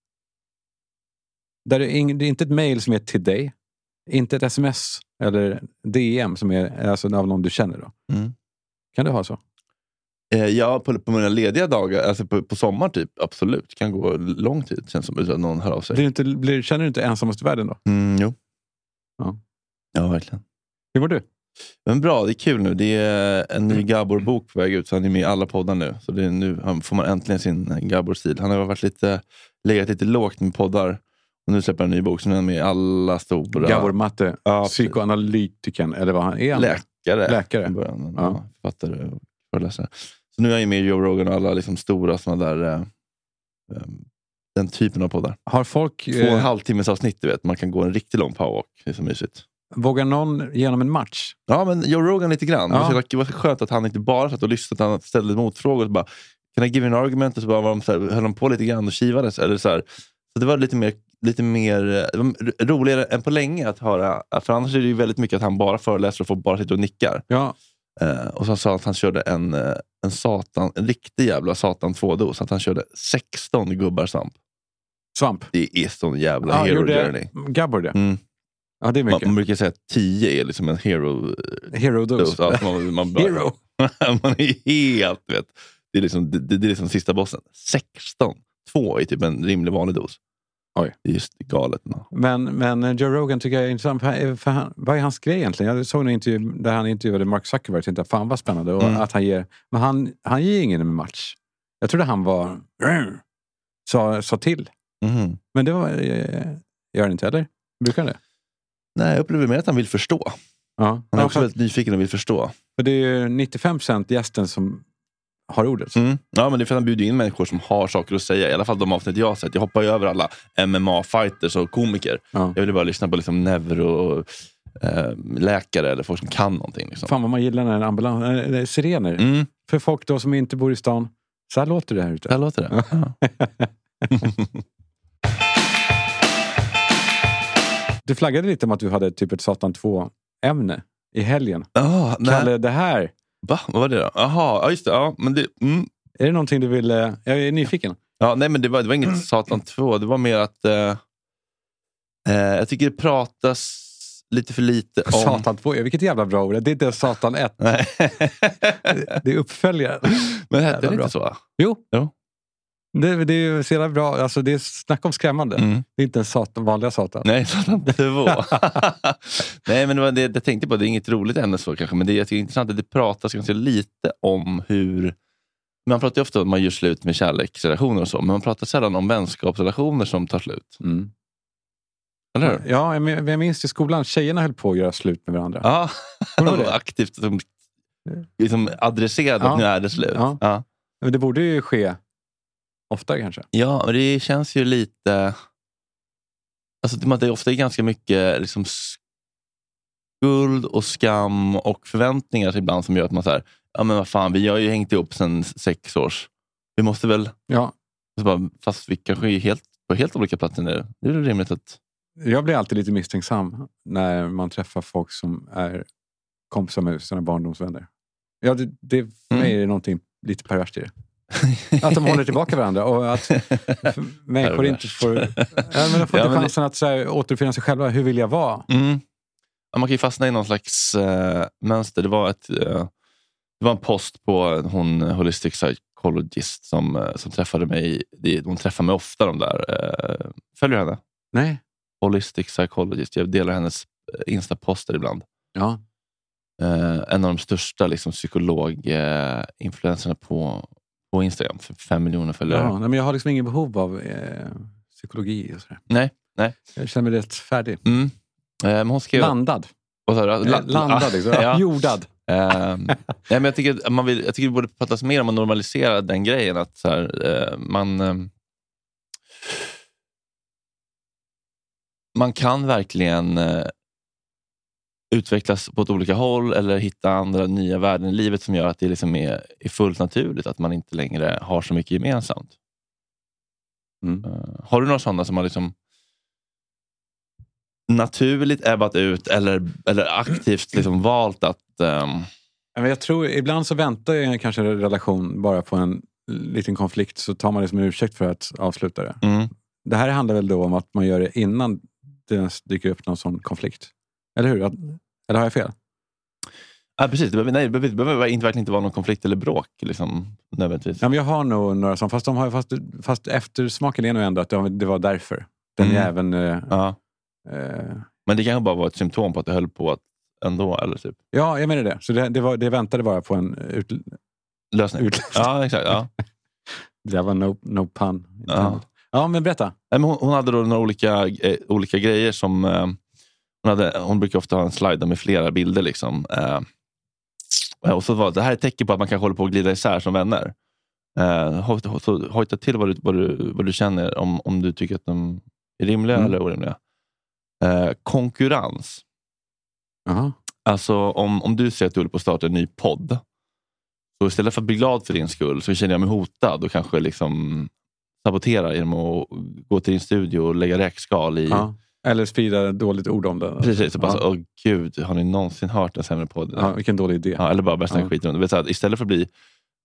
S3: Där det är, ing, det är inte ett mejl som är till dig, inte ett sms eller DM som är alltså, av någon du känner. Då.
S4: Mm.
S3: Kan du ha så?
S4: Eh, ja, på, på mina lediga dagar, alltså på, på sommar typ, absolut. Kan gå lång tid känns som, utan att någon hör av sig.
S3: Blir du inte, blir, känner du inte ensamast i världen då?
S4: Mm, jo.
S3: Ja.
S4: ja, verkligen.
S3: Hur mår du?
S4: Men bra, det är kul nu. Det är en
S3: Mm.
S4: ny Gabor-bok på väg ut, så han är med i alla poddar nu. Så det är nu han- får man äntligen sin eh, Gabor-stil. Han har varit lite, legat lite lågt med poddar. Och nu släpper han en ny bok, så nu är han med i alla stora
S3: Gabor Matte,
S4: Ja, precis.
S3: psykoanalytikern, eller vad han är. han?
S4: läkare.
S3: Läkare.
S4: I början, men,
S3: Ja.
S4: ja. Författare och föreläsare. Så nu är han ju med i Joe Rogan och alla liksom stora såna där, eh, eh, den typen av poddar.
S3: Har folk,
S4: Två och en
S3: eh,
S4: halv timmes avsnitt, du vet. Man kan gå en riktigt lång powerwalk. Det är så mysigt.
S3: vågar någon genom en match?
S4: Ja, men Joe Rogan lite grann.
S3: Ja.
S4: Det var så jävla skönt att han inte bara satt och lyssnade, utan han ställde motfrågor. Och bara, Can I give you an argument? Och så bara var de så här, höll de på lite grann och kivades. Eller så här. så det var lite mer, lite mer eh, det var r- roligare än på länge att höra. För annars är det ju väldigt mycket att han bara föreläser och folk bara sitter och nickar.
S3: Ja,
S4: Eh, och så sa han att han körde en, eh, en, satan, en riktig jävla satan 2-dos. Att han körde 16 gubbar svamp.
S3: svamp.
S4: Det är sån jävla
S3: Ja,
S4: hero
S3: gjorde
S4: journey.
S3: Gabor det?
S4: Mm.
S3: Ja, det är
S4: Man,
S3: mycket.
S4: man brukar säga att 10 är liksom en hero
S3: Hero dose.
S4: Dose, alltså man, man bara,
S3: Hero.
S4: man är helt, vet. Det är liksom, det, det är liksom sista bossen. 16. Två är typ en rimlig vanlig dos.
S3: Oj.
S4: Det är just galet. No.
S3: Men, men eh, Joe Rogan tycker jag är intressant. För han, för han, vad är hans grej egentligen? Jag såg en intervju där han intervjuade Mark Zuckerberg. Jag tänkte, fan vad spännande. Och
S4: Mm.
S3: att han ger, men han, han ger ingen match. Jag trodde han var... Sa, sa till.
S4: Mhm.
S3: Men det var, eh, gör han inte heller. Brukar han det?
S4: Nej, jag upplever mer att han vill förstå.
S3: Ja.
S4: Han är
S3: Ja,
S4: också
S3: fast-
S4: väldigt nyfiken och vill förstå.
S3: För det är ju 95 gästen som har ordet.
S4: Mm. Ja, men det är för att han bjuder in människor som har saker att säga. I alla fall de avsnitt jag har sett. Jag hoppar ju över alla MMA-fighters och komiker.
S3: Ja.
S4: Jag ville bara lyssna på liksom neuroläkare eller folk som kan någonting. Liksom.
S3: Fan vad man gillar när en ambulans... eh, eh, sirener.
S4: Mm.
S3: För folk då som inte bor i stan. Så här låter det här ute.
S4: Där låter det. Ja.
S3: Du flaggade lite om att du hade typ ett Satan 2-ämne i helgen.
S4: Ah, nej.
S3: Kalle, det här.
S4: Va? Vad var det då? Jaha, ja, just det. Ja, men det mm.
S3: Är det någonting du vill... eh, Jag är nyfiken.
S4: Ja, nej, men det var, det var
S3: Mm.
S4: inget Satan 2. Det var mer att eh, eh, jag tycker det pratas lite för lite om...
S3: Satan 2, ja, vilket jävla bra ord. Det är inte ens Satan 1.
S4: Nej.
S3: Det är uppföljaren.
S4: men
S3: Jävla
S4: hette det
S3: bra.
S4: inte så? va?
S3: Jo.
S4: Jo.
S3: Det, det är ju så jävla bra. Alltså, det är snack om skrämmande.
S4: Mm.
S3: Det är inte ens satan, vanliga Satan.
S4: Nej, Satan 2. nej, men det var det jag tänkte på. Det är inget roligt ämne så kanske, men det är, jag tycker det är intressant att det pratas ganska lite om hur... Man pratar ju ofta om att man gör slut med kärleksrelationer och så, men man pratar sällan om vänskapsrelationer som tar slut.
S3: Mm.
S4: Eller hur?
S3: Ja, jag men- jag minns i skolan, tjejerna höll på att göra slut med varandra.
S4: Ja,
S3: Kommer du ihåg det?
S4: aktivt som, liksom adresserade
S3: Ja.
S4: att nu är det slut.
S3: Ja.
S4: Ja.
S3: Men det borde ju ske oftare kanske.
S4: Ja, men det känns ju lite... Alltså, det- det är ofta ganska mycket liksom skuld och skam och förväntningar ibland som gör att man säger ja men vad fan, vi har ju hängt ihop sedan sex års. Vi måste väl...
S3: Ja,
S4: Så bara, fast vi kanske är helt, på helt olika platser nu. Det är väl rimligt att...
S3: jag blir alltid lite misstänksam när man träffar folk som är kompisar med sina barndomsvänner. Ja, det, det, för mig
S4: Mm.
S3: är det någonting lite perverst i det. Att de håller tillbaka varandra och att för- människor inte
S4: Perverst.
S3: får, ja, men de får
S4: Ja,
S3: inte
S4: men det-
S3: chansen att så här, återfinna sig själva. Hur vill jag vara?
S4: Mm. Ja, Man kan ju fastna i någon slags eh, mönster. Det var, ett, eh, det var en post på hon eh, holistic psychologist som, eh, som träffade mig. Det- Hon träffar mig ofta de där. Eh, följer du henne?
S3: Nej.
S4: Holistic psychologist. Jag delar hennes eh, instaposter ibland.
S3: Ja.
S4: Eh, en av de största liksom, psykologinfluenserna på, på Instagram. För fem miljoner följare.
S3: Ja, nej, men jag har liksom ingen behov av eh, psykologi och sådär.
S4: Nej, nej.
S3: Jag känner mig rätt färdig.
S4: Mm. Eh, men hon skrev...
S3: Landad.
S4: Vad sa du?
S3: La,
S4: La-
S3: landad liksom.
S4: Ja.
S3: Jordad.
S4: Ehm, nej, men jag, tycker att man vill, jag tycker det borde pratas mer om att normalisera den grejen. Att så här, eh, man, ehm, man kan verkligen eh, utvecklas på ett olika håll eller hitta andra nya värden i livet som gör att det liksom är, är fullt naturligt att man inte längre har så mycket gemensamt.
S3: Mm.
S4: Eh, Har du några sådana som har liksom naturligt ebbat ut eller, eller aktivt liksom valt att... ehm,
S3: Ja, Men jag tror, ibland så väntar jag kanske en relation bara på en liten konflikt så tar man det som en ursäkt för att avsluta det.
S4: mm.
S3: Det här handlar väl då om att man gör det innan det ens dyker upp någon sån konflikt? Eller hur? Att, eller har jag fel?
S4: Ja, precis. Det behöver, nej, det behöver, det behöver inte, verkligen inte vara någon konflikt eller bråk. Liksom, nödvändigtvis.
S3: Ja, men jag har nog några sån, fast, de har, fast, fast eftersmaken är nog ändå att det var- det var därför. Den
S4: Mm.
S3: jäveln... Eh,
S4: Ja.
S3: eh,
S4: Men det kanske bara var ett symptom på att det höll på att ändå. Eller typ.
S3: ja, jag menar det. Så det, det, var, det väntade bara på en... Ut,
S4: Lösning.
S3: Utlösning.
S4: Ja, exakt. Ja.
S3: det var no, no pun.
S4: Ja.
S3: Ja. ja, men berätta.
S4: Nej, men hon, hon hade då några olika, eh, olika grejer som... Eh, hon, hade, hon brukar ofta ha en slide med flera bilder. Liksom. Eh, och så var, det här är ett tecken på att man kanske håller på att glida isär som vänner. Eh, hojta, hojta- hojta till vad du, vad du, vad du känner, om, om du tycker att de är rimliga
S3: Mm.
S4: eller orimliga. Eh, konkurrens.
S3: Jaha.
S4: Alltså om, om du säger att du håller på att starta en ny podd. Så istället för att bli glad för din skull så känner jag mig hotad och kanske liksom saboterar genom att gå till din studio och lägga räkskal i...
S3: Ja. Eller sprida dåligt ord om den.
S4: Precis, och bara
S3: Ja.
S4: så, åh gud, har ni någonsin hört en sämre podd?
S3: Ja, vilken dålig idé.
S4: Ja,
S3: Ja,
S4: eller bara börja snacka
S3: Ja.
S4: skit om det. Vet du, så här, Istället för att bli,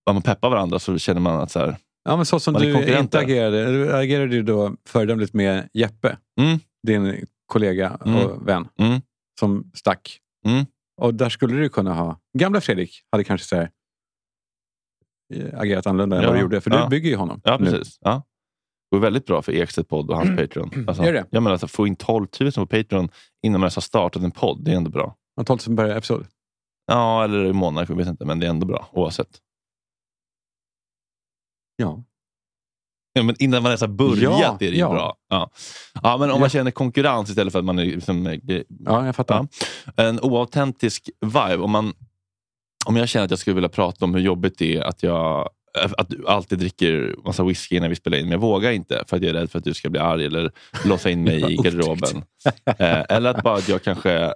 S4: att man peppar varandra så känner man att så här,
S3: men så som
S4: Man är
S3: du
S4: konkurrenter.
S3: inte agerade. eller agerade du då föredömligt med Jeppe,
S4: Mm.
S3: din kollega
S4: Mm.
S3: och vän,
S4: Mm.
S3: som stack.
S4: Mm.
S3: Och där skulle du kunna ha... Gamla Fredrik hade kanske så här, eh, agerat annorlunda än
S4: Ja.
S3: vad du gjorde, för du
S4: Ja.
S3: bygger ju honom.
S4: ja
S3: nu.
S4: precis. Ja. Det går väldigt bra för Ekstedt podd och hans Patreon. Alltså,
S3: Mm. Gör det?
S4: Jag menar, alltså, få in 12 000 på Patreon innan man ens har startat en podd, det är ändå bra.
S3: Han har 12 per episod.
S4: Ja, eller i Monaco, jag vet inte, men det är ändå bra oavsett.
S3: Ja.
S4: Ja, men innan man ens har börjat
S3: Ja,
S4: är det ju
S3: ja.
S4: bra. Ja. Ja, men om
S3: Ja.
S4: man känner konkurrens istället för att man är liksom, eh,
S3: ja, jag fattar.
S4: Ja. en oautentisk vibe. Om man, om jag känner att jag skulle vilja prata om hur jobbigt det är att jag eh, att du alltid dricker massa whisky innan vi spelar in, men jag vågar inte för att jag är rädd för att du ska bli arg eller låsa in mig i garderoben. Eh, eller att bara att jag kanske eh,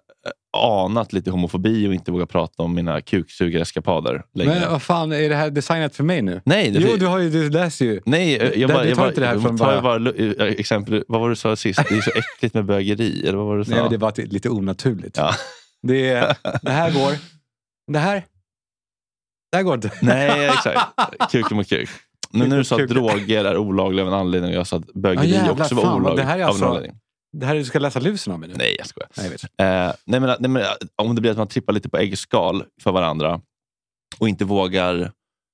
S4: anat lite homofobi och inte vågar prata om mina kuksugareskapader längre.
S3: Men vad fan, är det här designat för mig nu?
S4: Nej, det-
S3: jo, du, har ju, du läser ju.
S4: Nej, jag-
S3: Det-
S4: jag bara...
S3: du
S4: Jag
S3: tar
S4: bara,
S3: inte det här
S4: jag
S3: från
S4: tar
S3: bara-
S4: ju bara eh, exempel, vad var det du sa sist? Det är så äckligt med bögeri. Eller vad var det du sa?
S3: Nej, men det är bara att det är lite onaturligt.
S4: Ja.
S3: Det, är, det här går. Det här. Det här går inte.
S4: Nej, exakt. Kuk mot kuk. Nu när du sa att
S3: Kuk.
S4: droger är olagliga av en anledning och jag sa att bögeri
S3: Ja, jävlar,
S4: också var
S3: fan, vad
S4: olagligt
S3: det här är
S4: av
S3: alltså-
S4: en anledning.
S3: Det här är du ska läsa lusen av mig nu.
S4: Nej, jag skojar.
S3: Nej, jag vet.
S4: Eh, nej, men, nej, men, eh, om det blir att man trippar lite på äggskal för varandra och inte vågar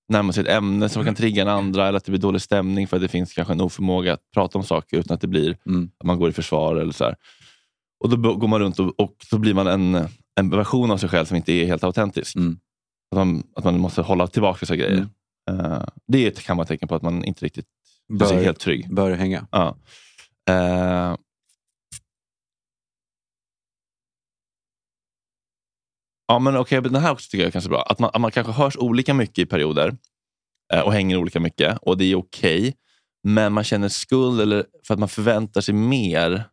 S4: närma sig ett ämne som kan trigga en andra eller att det blir dålig stämning för att det finns kanske en oförmåga att prata om saker utan att det blir
S3: Mm.
S4: att man går i försvar eller så här. Och då b- går man runt och, och så blir man en, en version av sig själv som inte är helt autentisk.
S3: Mm.
S4: Att, man, att man måste hålla tillbaka vissa grejer.
S3: Mm.
S4: Eh, det är ett- kan vara ett tecken på att man inte riktigt känner sig
S3: Bör,
S4: helt trygg.
S3: bör hänga.
S4: Ja. Eh, ja, men okej, men den här också tycker jag kanske är bra. Att man, att man kanske hörs olika mycket i perioder eh, och hänger olika mycket och det är okej. men man känner skuld eller för att man förväntar sig mer.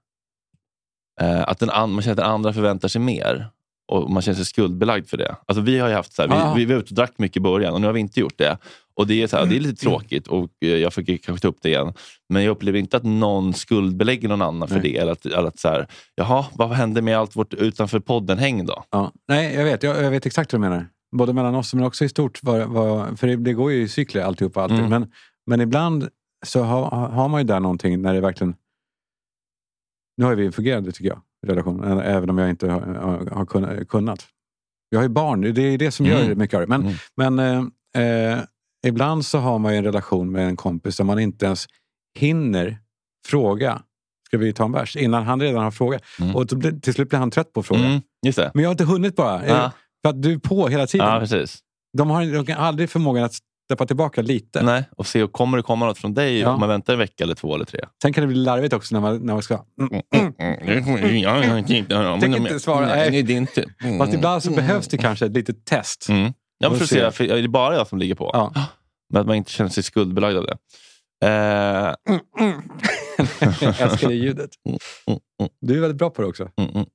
S4: Eh, att den an- man känner att den andra förväntar sig mer och man känner sig skuldbelagd för det. Alltså, vi har ju haft så här,
S3: Ah.
S4: vi, vi var ute och drack mycket i början och nu har vi inte gjort det. Och Det är, så här,
S3: Mm.
S4: det är lite tråkigt och eh, jag fick ju kanske ta upp det igen. Men jag upplever inte att någon skuldbelägger någon annan för
S3: Nej.
S4: det. Eller att, eller att så här, Jaha, vad hände med allt vårt utanför podden-häng då?
S3: Ja. Nej, jag vet. Jag, jag vet exakt vad du menar. Både mellan oss men också i stort. Vad, vad, för det, det går ju i cykler alltihopa. Alltid.
S4: Mm.
S3: Men, men ibland så har, har man ju där någonting när det verkligen... Nu har ju vi en fungerande, tycker jag, relation. ä- Även om jag inte har, har- har kunna- kunnat. Jag har ju barn. Det är det som gör
S4: Mm.
S3: mycket av det. Men,
S4: Mm.
S3: men eh, eh, ibland så har man ju en relation med en kompis där man inte ens hinner fråga. Ska vi ta en bärs? Innan han redan har frågat.
S4: Mm.
S3: Och då blir- till slut blir han trött på frågan.
S4: Mm, just det.
S3: Men jag har inte hunnit bara. eh,
S4: Ja,
S3: För att du är på hela tiden.
S4: ja, precis.
S3: de, har, de kan aldrig förmågan att steppa tillbaka lite.
S4: Nej, och se, och kommer det komma något från dig
S3: Ja.
S4: om man väntar en vecka eller två eller tre?
S3: Sen kan det bli larvigt också när man, när man ska... Mm.
S4: Jag
S3: Tänker inte svara.
S4: Nej, Mm, det är inte.
S3: Fast ibland så behövs det kanske ett litet test.
S4: Mm. Ja, men för att
S3: Får
S4: se,
S3: se.
S4: för det är bara jag som ligger på.
S3: Ja.
S4: Men att man inte känner sig skuldbelagd av det. Eh,
S3: Jag älskar det ljudet.
S4: Mm, mm, mm.
S3: Du är väldigt bra på det också.
S4: mm, mm.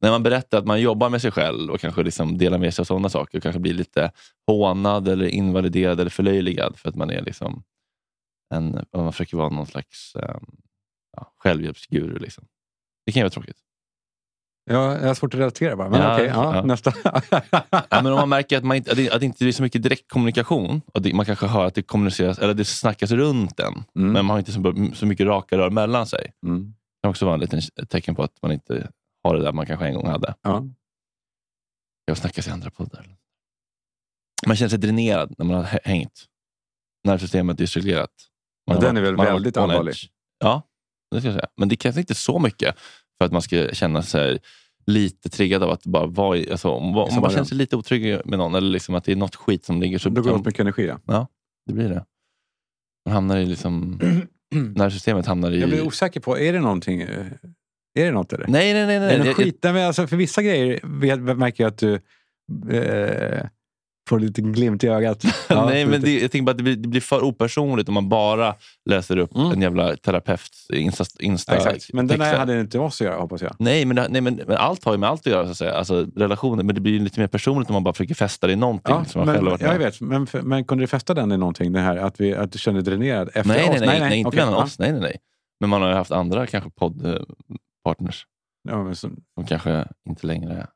S4: När man berättar att man jobbar med sig själv och kanske liksom delar med sig av sådana saker och kanske blir lite hånad, eller invaliderad eller förlöjligad för att man är liksom en, man försöker vara någon slags eh, ja, självhjälpsguru. Liksom. Det kan ju vara tråkigt.
S3: Jag, jag har svårt att relatera bara. Men
S4: Ja,
S3: okej, ja,
S4: ja.
S3: nästa.
S4: Ja, men om man märker att, man inte, att, det, att det inte blir så mycket direktkommunikation. Och det, man kanske hör att det kommuniceras, eller det snackas runt den.
S3: Mm.
S4: Men man har inte så, så mycket raka rör mellan sig. Det
S3: Mm.
S4: kan också vara en liten ett tecken på att man inte har det där man kanske en gång hade.
S3: Ja.
S4: Jag snackas i andra poddar. Man känner sig dränerad när man har hä- hängt. Nervsystemet är cirkulerat. Man
S3: Ja,
S4: har
S3: den är
S4: varit-
S3: väl
S4: man har
S3: väldigt
S4: varit on
S3: allvarlig.
S4: edge. Ja, det ska jag säga. Men det kanske inte är så mycket för att man ska känna sig lite triggad av att bara vara i, alltså, om, om man
S3: samma
S4: bara känner
S3: rum.
S4: sig lite otrygg med någon eller liksom att det är något skit som ligger så
S3: Då går det
S4: som,
S3: åt mycket energi. Ja.
S4: det blir det. Man hamnar i liksom, nervsystemet hamnar i...
S3: Jag blir osäker på, är det någonting? eh, Är det något eller?
S4: nej, nej, nej. nej.
S3: Är det
S4: Jag-
S3: något skit? Nej, men alltså, för vissa grejer vet, märker jag att du eh, får en liten glimt i ögat. Ja,
S4: Nej, men
S3: absolut.
S4: det, jag tänker bara att det blir, det blir för opersonligt om man bara läser upp
S3: Mm.
S4: en jävla terapeuts insta, insta
S3: Ja, exakt. Men den här
S4: texter.
S3: hade inte med oss att göra hoppas jag.
S4: Nej, men, det- nej men, men allt har ju med allt att göra. Så att säga. Alltså, relationer, men det blir ju lite mer personligt om man bara försöker fästa det i någonting
S3: Ja,
S4: som man själv
S3: men,
S4: har varit
S3: jag
S4: med.
S3: vet, men, för- men kunde du fästa den i någonting? Det här att, vi, att du kände dig dränerad efter
S4: Nej,
S3: oss?
S4: nej, nej, nej, inte
S3: okej,
S4: mellan
S3: ja.
S4: oss. Nej, nej, nej. Men man har ju haft andra kanske poddpartners
S3: Ja, men så,
S4: som kanske inte längre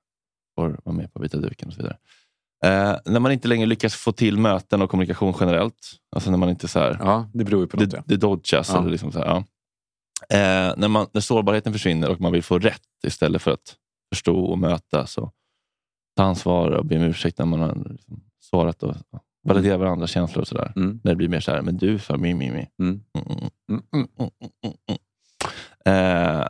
S4: får vara med på vita duken och så vidare. Eh, när man inte längre lyckas få till möten och kommunikation generellt. Alltså när man inte så här,
S3: ja, det beror ju på något.
S4: det,
S3: ja.
S4: det dodgas.
S3: Ja.
S4: Eller liksom så här, ja. eh, när, man, när sårbarheten försvinner och man vill få rätt istället för att förstå och möta. Så ta ansvar och be om ursäkt när man har liksom sårat och ja, validera varandras känslor och sådär.
S3: Mm.
S4: När det blir mer så här, men du sa mi, mi, mi.
S3: Mm.
S4: Mm, mm,
S3: Mm.
S4: mm, mm, mm, mm. Eh,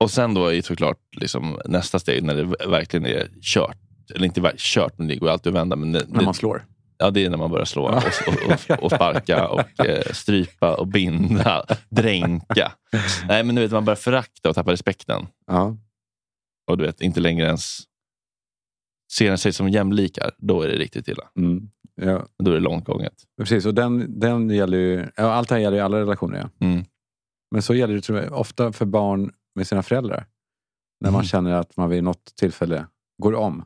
S4: och sen då är ju såklart liksom nästa steg när det ver- verkligen är kört. Eller inte ver- kört, men det går ju alltid att vända. Men det,
S3: När
S4: det-
S3: man slår.
S4: Ja, det är när man börjar slå och, och, och, och sparka och eh, strypa och binda, dränka. Nej, men du vet, man börjar förakta och tappa respekten.
S3: Ja.
S4: Och du vet, inte längre ens ser sig som jämlikar, då är det riktigt illa.
S3: Mm. Ja,
S4: Då är det långt gånget.
S3: precis. Och den, den gäller ju, ja, allt det här gäller ju alla relationer. Ja.
S4: Mm.
S3: Men så gäller det tror jag, ofta för barn med sina föräldrar. När man
S4: Mm.
S3: känner att man vid något tillfälle går om.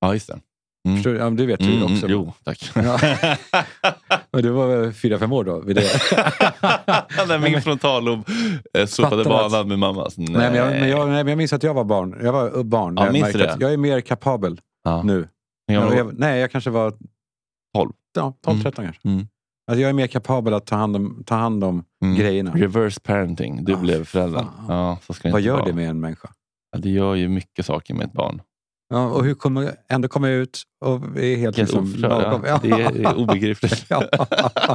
S4: Ja, just det.
S3: Förstår du? Ja, men det vet du ju
S4: Mm,
S3: också.
S4: mm, jo, tack.
S3: Ja. Men du var väl fyra, fem år då? Vid det.
S4: När min frontallob eh, sopade
S3: Fattar att-
S4: banan med mammas. Nej,
S3: Nej, men jag, men jag, nej, men jag minns att jag var barn. Jag var upp barn.
S4: Ja,
S3: jag,
S4: minns
S3: märkte
S4: du det?
S3: att jag är mer kapabel
S4: Ja.
S3: nu.
S4: Jag
S3: Jag
S4: var-
S3: jag, nej, jag kanske var...
S4: 12.
S3: Ja, 12,
S4: Mm.
S3: 13 kanske.
S4: Mm.
S3: Alltså, jag är mer kapabel att ta hand om, ta hand om
S4: Mm.
S3: grejerna.
S4: Reverse parenting. Du
S3: Ah,
S4: blev förälder.
S3: fan.
S4: Ja, så ska det
S3: Vad
S4: inte
S3: gör
S4: vara.
S3: det med en människa?
S4: Ja, det gör ju mycket saker med ett barn.
S3: Ja, och hur kommer jag ändå komma ut och är helt,
S4: Helt
S3: liksom,
S4: oförklarligt.
S3: lagom?
S4: Ja. Det är- det är obegripligt.
S3: Ja.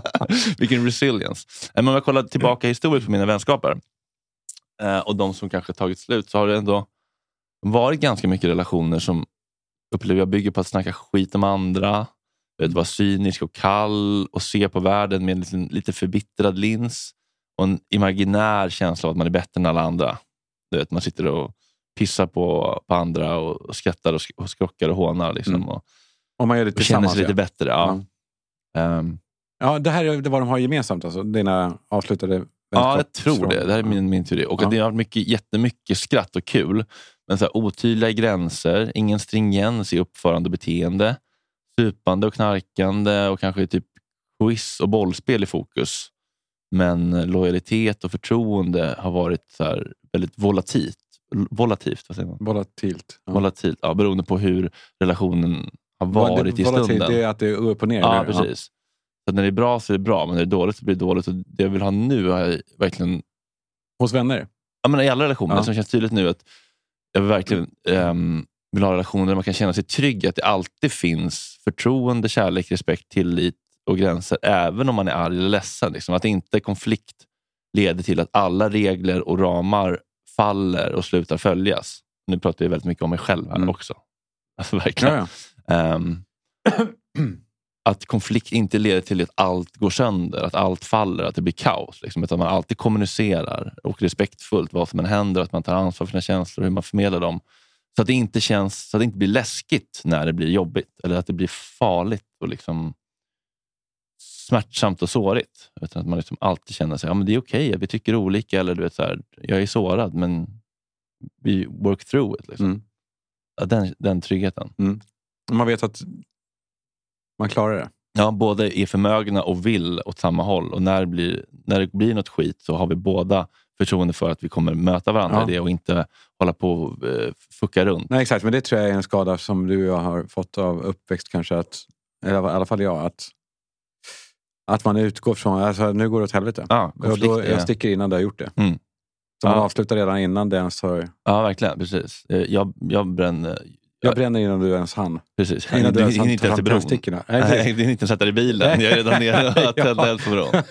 S4: Vilken resilience. Nej, Men om jag kollar tillbaka historiskt på mina vänskaper eh, och de som kanske tagit slut så har det ändå varit ganska mycket relationer som upplever jag bygger på att snacka skit om andra, vet, vara cynisk och kall och se på världen med en liten, lite förbittrad lins och en imaginär känsla av att man är bättre än alla andra. Du vet, man sitter och pissar på, på andra och, och skrattar och, sk- och skrockar och hånar. Liksom,
S3: Mm.
S4: och,
S3: Om man gör det
S4: och känner
S3: tillsammans.
S4: sig lite
S3: ja. Mm.
S4: bättre. Ja. Ehm,
S3: ja, det här är det vad de har gemensamt, alltså, dina avslutade
S4: Ja, jag tror
S3: vänskapsfrågor.
S4: det. Det här är min, min teori. Och
S3: Ja.
S4: att det har varit mycket, jättemycket skratt och kul. Men så här, otydliga gränser, ingen stringens i uppförande och beteende. Supande och knarkande och kanske typ quiz och bollspel i fokus. Men eh, lojalitet och förtroende har varit så här, väldigt volatilt. Volativt, vad säger man?
S3: Volatilt. Ja.
S4: Volatilt, ja, beroende på hur relationen har
S3: Vad-
S4: varit
S3: det,
S4: i
S3: volatilt,
S4: stunden.
S3: Det är att det är upp och ner.
S4: Ja,
S3: eller hur?
S4: precis. Så att när det är bra så är det bra, men när det är dåligt så blir det dåligt. Och det jag vill ha nu har jag verkligen
S3: Hos vänner.
S4: ja, men i alla relationer
S3: Ja.
S4: som känns tydligt nu att jag verkligen ehm, vill ha relationer där man kan känna sig trygg. Att det alltid finns förtroende, kärlek, respekt, tillit och gränser. Även om man är arg eller ledsen. Liksom. Att inte konflikt leder till att alla regler och ramar faller och slutar följas. Nu pratar jag väldigt mycket om mig själv här
S3: Mm.
S4: också. Alltså, verkligen.
S3: Ja, ja.
S4: Ehm, att konflikt inte leder till att allt går sönder, att allt faller, att det blir kaos. Liksom, utan man alltid kommunicerar och respektfullt vad som än händer, att man tar ansvar för sina känslor och hur man förmedlar dem. Så att det inte känns, så att det inte blir läskigt när det blir jobbigt eller att det blir farligt och liksom smärtsamt och sårigt. Utan att man liksom alltid känner sig, ja men det är okej, vi tycker olika. Eller du vet, så här, jag är sårad, men vi work through it. Liksom.
S3: Mm.
S4: Ja, den, den tryggheten.
S3: Man vet att man klarar det.
S4: Ja, båda är förmögna och vill åt samma håll. Och när det blir, när det blir något skit så har vi båda förtroende för att vi kommer möta varandra
S3: Ja.
S4: i det och inte hålla på och eh, fucka runt.
S3: Nej, exakt. Men det tror jag är en skada som du och jag har fått av uppväxt kanske. Att, eller i alla fall jag. Att, att man utgår från alltså, nu går det åt helvete.
S4: Ja,
S3: och
S4: konflikt
S3: då,
S4: är-
S3: jag sticker innan det har gjort det.
S4: Mm.
S3: Så man
S4: Ja.
S3: avslutar redan innan det ens har...
S4: ja, verkligen. Precis. Eh, Jag, jag bränner...
S3: Jag bränner innan du ens hann.
S4: Precis.
S3: Innan
S4: du
S3: du ens
S4: hinner inte ens till bron.
S3: tändstickorna. Nej,
S4: Nej,
S3: precis.
S4: det är inte ens sätta dig i bilen. Jag är redan nere och
S3: Ja.
S4: tända eld på bron.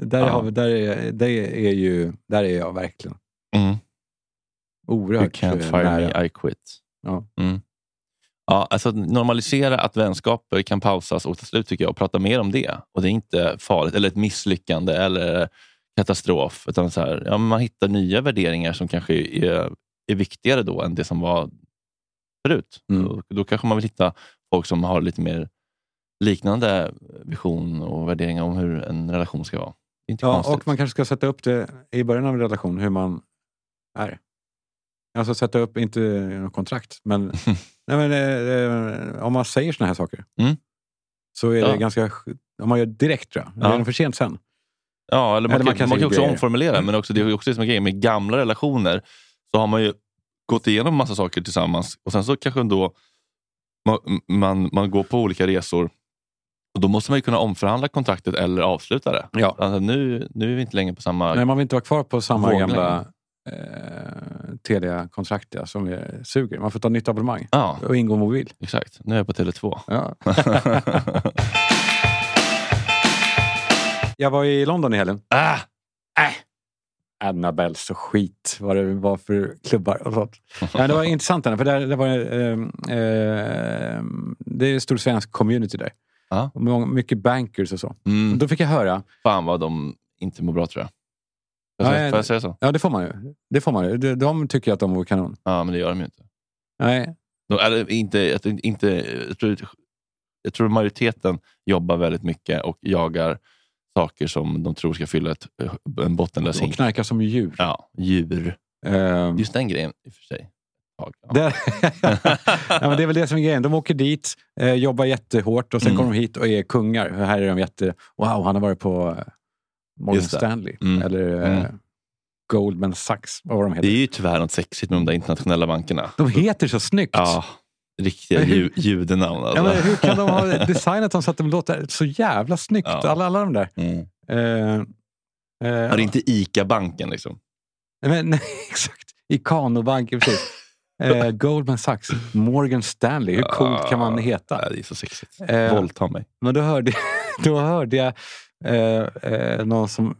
S3: där,
S4: Ja.
S3: har vi, där, är, där, är ju, där är jag verkligen
S4: Mm. You
S3: oerhört
S4: can't
S3: eh,
S4: fire
S3: nära.
S4: me, I quit.
S3: Ja.
S4: Mm. Ja, alltså att normalisera att vänskaper kan pausas och ta slut tycker jag och prata mer om det. Och Det är inte farligt eller ett misslyckande eller eh, katastrof. Utan så här, ja, men man hittar nya värderingar som kanske är, är viktigare då än det som var förut.
S3: Mm.
S4: Och Då kanske man vill hitta folk som har lite mer liknande vision och värderingar om hur en relation ska vara. Det är inte
S3: Ja,
S4: konstigt.
S3: och man kanske ska sätta upp det i början av en relation, hur man är. Alltså sätta upp, inte något kontrakt, men, nej, men eh, eh, om man säger såna här saker
S4: Mm.
S3: så är
S4: Ja.
S3: det ganska... sk- Om man gör det direkt tror jag.
S4: Ja.
S3: Det är det för sent sen.
S4: Ja, eller man,
S3: Eller man
S4: kan, man
S3: kan
S4: kan,
S3: säga
S4: också
S3: grejer.
S4: omformulera, men också, det är ju också det som är grejen med gamla relationer. Så har man ju gått igenom massa saker tillsammans och sen så kanske ändå man, man, man går på olika resor. Och Då måste man ju kunna omförhandla kontraktet eller avsluta det.
S3: Ja.
S4: Alltså, nu, nu är vi inte längre på samma...
S3: Nej, man vill inte vara kvar på samma
S4: Våglängd.
S3: gamla eh, Telia-kontrakt ja, som är, suger. Man får ta nytt abonnemang
S4: Ja,
S3: och ingå mobil.
S4: exakt. Nu är jag på Tele2.
S3: Ja. Jag var i London i helgen.
S4: ah,
S3: Annabelles och skit, vad det var för klubbar och sånt. Ja, det var intressant, Anna, för där, där var, ehm, ehm, det är en stor svensk community där.
S4: Ja.
S3: Och många- Mycket bankers och så.
S4: mm,
S3: Då fick jag höra,
S4: fan vad de inte mår bra tror jag. Får jag,
S3: Nej,
S4: säga, får jag säga så?
S3: ja det får man ju. Det får man ju. De, de tycker att de vore kanon.
S4: Ja, men det gör de ju inte.
S3: Nej.
S4: De, eller, inte, jag, tror inte, jag, tror, jag tror majoriteten jobbar väldigt mycket och jagar saker som de tror ska fylla ett, en bottenlös
S3: De
S4: hink.
S3: knarkar som djur.
S4: Ja, djur.
S3: Ehm,
S4: Just den grejen i och för sig. Ja, ja.
S3: det, ja, men det är väl det som är grejen. De åker dit, eh, jobbar jättehårt och sen
S4: Mm.
S3: kommer de hit och är kungar. Här är de jätte... Wow, han har varit på eh, Morgan
S4: Just det.
S3: Stanley.
S4: Mm.
S3: Eller eh,
S4: Mm.
S3: Goldman Sachs. Vad var de
S4: Det
S3: heter?
S4: är ju tyvärr något sexigt med de där internationella bankerna.
S3: De heter så snyggt.
S4: Ja, riktiga
S3: Men hur-
S4: ju, judenamn.
S3: Ja,
S4: Alltså.
S3: men hur kan de ha designat dem så att de låter så jävla snyggt?
S4: Ja.
S3: Alla, alla de där.
S4: mm.
S3: Eh, eh,
S4: Ja, det är inte ICA-banken liksom.
S3: Nej, Men, nej, exakt. I Kanobanken, precis. Eh, Goldman Sachs, Morgan Stanley. Hur coolt kan man
S4: Ja,
S3: heta?
S4: det är så sexigt.
S3: Eh,
S4: Våldta mig.
S3: Men då hörde, då hörde jag eh, eh, någon som,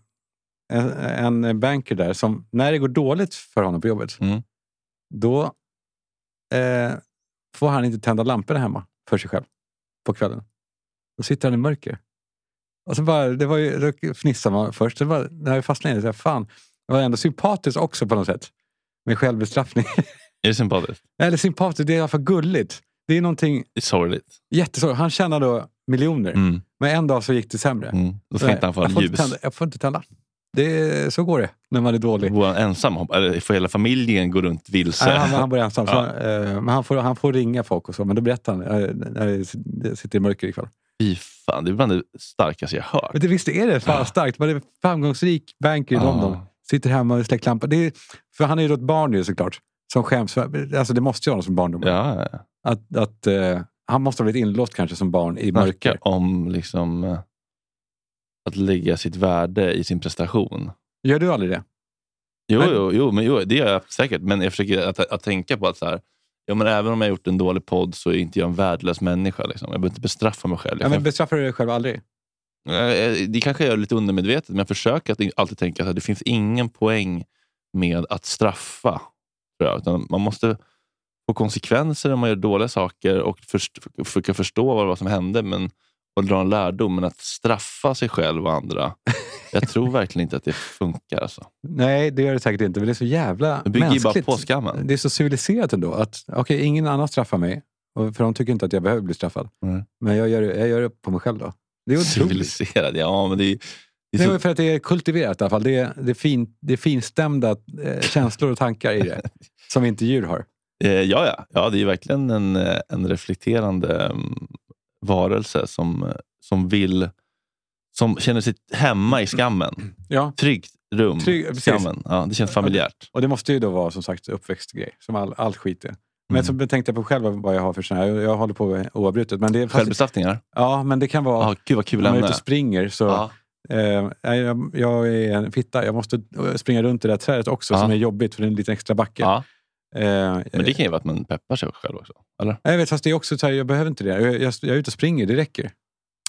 S3: en, en banker där som, när det går dåligt för honom på jobbet,
S4: Mm.
S3: då eh, får han inte tända lamporna hemma för sig själv på kvällen. Då sitter han i mörker. Och så bara, det var ju, då fnissade man först. Det var, när jag fastnade i det, så här, fan, det var ändå sympatiskt också på något sätt. Med självbestraffning.
S4: Är det sympatiskt?
S3: Eller sympatiskt, det är i alla fall gulligt. Det är någonting
S4: Det är sorgligt.
S3: jättesorgligt. Han tjänar då miljoner.
S4: Mm.
S3: Men en dag så gick det sämre.
S4: Mm. Då ska
S3: Nej,
S4: inte han få
S3: jag
S4: en
S3: får inte
S4: ljus.
S3: tända- Jag får inte tända. Det, är- så går det när man är dålig.
S4: Bor han ensam? Hoppa- Eller får hela familjen gå runt vilse?
S3: Nej, han, han bor ensam. Så,
S4: Ja.
S3: han, eh, men han, får, han får ringa folk och så. Men då berättar han eh, när jag s- jag sitter i mörker ikväll.
S4: Fy fan, det är bland det starkaste jag hört.
S3: Men det, visst är det fan
S4: Ja.
S3: starkt? Man är en framgungsrik banker i
S4: Ja.
S3: London. Sitter hemma och släcker lampan. Det är, för han är ju då ett barn nu såklart. Som skäms. För, alltså det måste ju vara någon som barndom.
S4: Ja, ja.
S3: Att, att, eh, han måste ha blivit inlåst kanske som barn i mörker.
S4: Snacka om liksom, eh, att lägga sitt värde i sin prestation.
S3: Gör du aldrig det?
S4: Jo,
S3: Men-
S4: jo, jo, men jo det gör jag säkert. Men jag försöker att, att tänka på att så här, ja, men även om jag har gjort en dålig podd så är inte jag en värdelös människa. Liksom. Jag behöver inte bestraffa mig själv.
S3: Ja,
S4: Jag
S3: men
S4: kan,
S3: bestraffar du dig själv aldrig?
S4: Eh, det kanske jag gör lite undermedvetet, men jag försöker att alltid tänka att det finns ingen poäng med att straffa. tror jag. Utan man måste få konsekvenser om man gör dåliga saker och först, försöka förstå vad det var som hände men, och dra en lärdom. Men att straffa sig själv och andra, jag tror verkligen inte att det funkar. Alltså.
S3: Nej, det gör det säkert inte. Men det är så jävla
S4: Det bygger ju bara
S3: mänskligt.
S4: på skammen.
S3: Det är så civiliserat ändå. att Okej, ingen annan straffar mig. och- För de tycker inte att jag behöver bli straffad.
S4: Mm.
S3: Men jag gör, det- jag gör det på mig själv då. Det är otroligt.
S4: Civiliserad, ja. Men det är, det är
S3: Nej,
S4: så
S3: men för att det är kultiverat i alla fall. Det är, det är, fin, det är finstämda eh, känslor och tankar i det. Som inte djur har.
S4: Eh, ja, ja. ja, det är ju verkligen en, eh, en reflekterande mm, varelse som, eh, som vill som känner sig hemma i skammen.
S3: Ja.
S4: Tryggt rum.
S3: Trygg- precis.
S4: skammen. Ja, det känns familjärt.
S3: Och det måste ju då vara som sagt uppväxtgrej. Som all, all skit är. Men
S4: Mm.
S3: så tänkte jag på själv vad jag har för sån här. Jag håller på oavbrutet. Men det, fast,
S4: Självbestraffningar?
S3: ja, men det kan vara...
S4: Ja. gud vad
S3: om
S4: kul
S3: man är ute
S4: ämne.
S3: och springer så...
S4: Ja.
S3: Eh, nej, jag, jag är en fitta. Jag måste eh, springa runt i det där trädet också
S4: Ja.
S3: som är jobbigt för det är en liten extra backe.
S4: Ja.
S3: Eh,
S4: Men det kan ju vara att man peppar sig själv också. Eller?
S3: jag vet, fast det är också så här, jag behöver inte det. Jag, jag, jag är ute och springer, det räcker.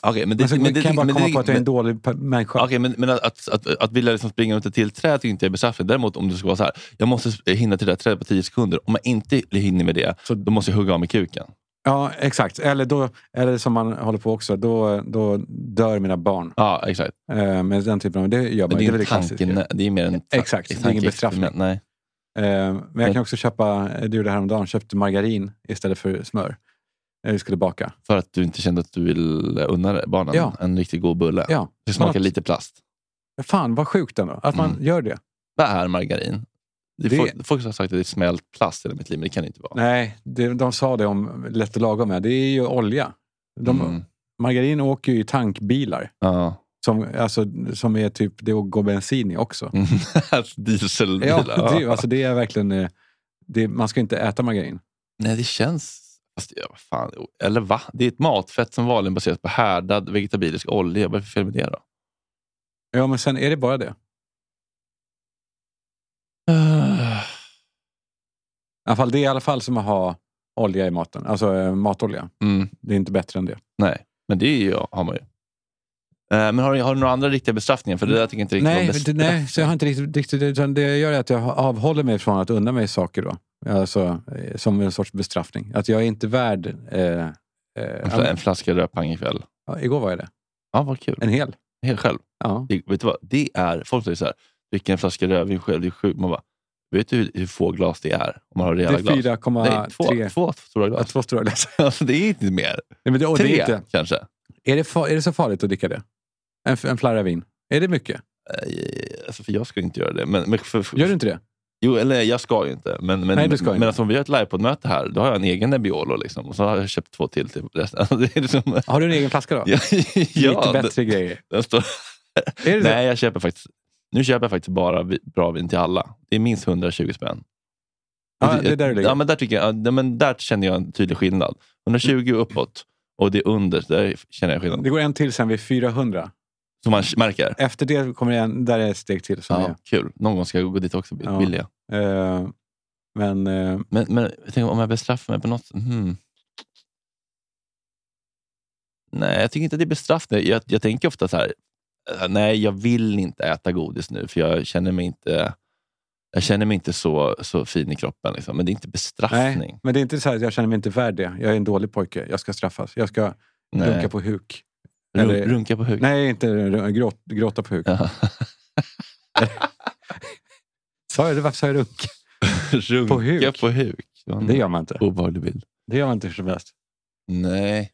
S4: Okej, men
S3: Men så
S4: det, men det,
S3: kan jag bara
S4: men
S3: komma
S4: det,
S3: på att jag är en
S4: men,
S3: dålig pe- människa.
S4: Okej, men, men att, att, att, att vilja liksom springa runt ett till träd tycker inte jag är bestraffning. Däremot om du ska vara så här, jag måste sp- hinna till det där trädet på 10 sekunder. Om jag inte hinner med det,
S3: Så-
S4: då måste jag hugga av mig kuken.
S3: Ja, exakt. Eller, då, eller som man håller på också, då, då dör mina barn.
S4: Ja, exakt.
S3: Eh, men den typen av, det gör man.
S4: Men det
S3: ju.
S4: är,
S3: väl
S4: en
S3: det
S4: tanke,
S3: klassiska.
S4: det, är mer en ta-
S3: Exakt, det är ingen
S4: tankeexperiment.
S3: bestraffning.
S4: Nej.
S3: Eh, men jag kan också köpa, du gjorde det häromdagen, köpte margarin istället för smör. När vi skulle baka.
S4: För att du inte kände att du ville unna dig- barnen
S3: Ja.
S4: en riktigt god bulle.
S3: Ja.
S4: Det smakar
S3: Snart.
S4: lite plast.
S3: Fan vad sjukt ändå, att man
S4: Mm.
S3: gör det.
S4: Vad är margarin? Det är
S3: Det-
S4: Folk, folk har sagt att det är smält plast i hela mitt liv, men det kan det inte vara.
S3: Nej, det, de sa det om lätt och lagom. Här. Det är ju olja. De,
S4: Mm.
S3: Margarin åker ju i tankbilar.
S4: Ja.
S3: Som, alltså, som är typ, det går bensin i också.
S4: Dieselbilar.
S3: Ja, det, alltså, det är verkligen... eh, Det, man ska inte äta margarin.
S4: Nej, det känns... Fast, ja, vad fan. Eller va? Det är ett matfett som vanligen baseras på härdad vegetabilisk olja. Vad är det för fel med det då?
S3: Ja, men sen är det bara det. Eh. I alla fall, det är i alla fall som att ha olja i maten. Alltså eh, matolja.
S4: Mm.
S3: Det är inte bättre än det.
S4: Nej, men det är ju, har man ju. Eh, Men har, du- har du några andra riktiga bestraffningar? För det där tycker jag inte riktigt
S3: Mm. Nej,
S4: var
S3: det, nej, så jag har inte riktigt... riktigt utan det jag gör är att jag avhåller mig från att unna mig saker då. Alltså, eh, som en sorts bestraffning. Att jag är inte värd... Eh, eh,
S4: En,
S3: ja,
S4: fl- en flaska rödpang ikväll.
S3: Ja, igår var jag det.
S4: Ja, vad kul.
S3: En hel.
S4: Helt själv.
S3: Ja.
S4: Det, vet du vad? Det är, folk säger så här, vilken flaska rödvin själv, det är sjukt. Man bara, Vet du hur, hur få glas det är? Om man har
S3: Det
S4: rejäla
S3: är
S4: glas. Nej, två,
S3: 4,3.
S4: två stora
S3: Ja,
S4: glas.
S3: Två stora glas.
S4: Alltså, det är inte mer.
S3: Nej, men det, och det är,
S4: Tre
S3: inte,
S4: kanske. Eh,
S3: är, det fa- är det så farligt att dricka det? En, f- en flarra vin? Är det mycket?
S4: Eh, Alltså, för jag skulle inte göra det. Men, men för, för,
S3: Gör du inte det?
S4: Jo, eller jag ska ju inte. Men, men,
S3: Nej, du ska
S4: men
S3: inte.
S4: alltså, om vi har ett livepoddmöte här, då har jag en egen Nebbiolo. Liksom, och så har jag köpt två till. till resten. Alltså, det är liksom,
S3: Har du en egen flaska då?
S4: ja, ja,
S3: Lite
S4: den-
S3: bättre grejer.
S4: Den står,
S3: Är det
S4: nej, jag köper faktiskt, nu köper jag faktiskt bara vi- bra vin till alla. Det är minst 120 spänn.
S3: så? Ja,
S4: Och
S3: det är där du ligger.
S4: ja, men där, tycker jag, ja, men där känner jag en tydlig skillnad. 120 uppåt och det är under, där känner jag skillnad.
S3: Mm. Det går en till sen vid 400.
S4: Som man märker.
S3: Efter det kommer det en, där är ett steg till. Som
S4: Ja, kul. Någon gång ska jag gå dit också.
S3: Ja.
S4: Vill jag.
S3: är. Eh, men eh,
S4: Men, men jag tänker, om jag bestraffar mig på något... Hmm. Nej, jag tycker inte att det är bestraffning. Jag, jag tänker ofta så här, eh, nej jag vill inte äta godis nu för jag känner mig inte, jag känner mig inte så, så fin i kroppen. Liksom. Men det är inte
S3: nej,
S4: bestraffning.
S3: men det är inte så här att jag känner mig inte värd det. Jag är en dålig pojke. Jag ska straffas. Jag ska
S4: Nej.
S3: runka på huk.
S4: Run-
S3: eller-
S4: Runka på huk.
S3: Nej, inte r- gråt, gråta på huk.
S4: Ja.
S3: Sa jag, det? varför sa jag runk?
S4: Runka på huk.
S3: huk.
S4: På huk. Det var en
S3: Det gör man inte.
S4: obehaglig bild.
S3: Det gör man inte hur som helst.
S4: Nej,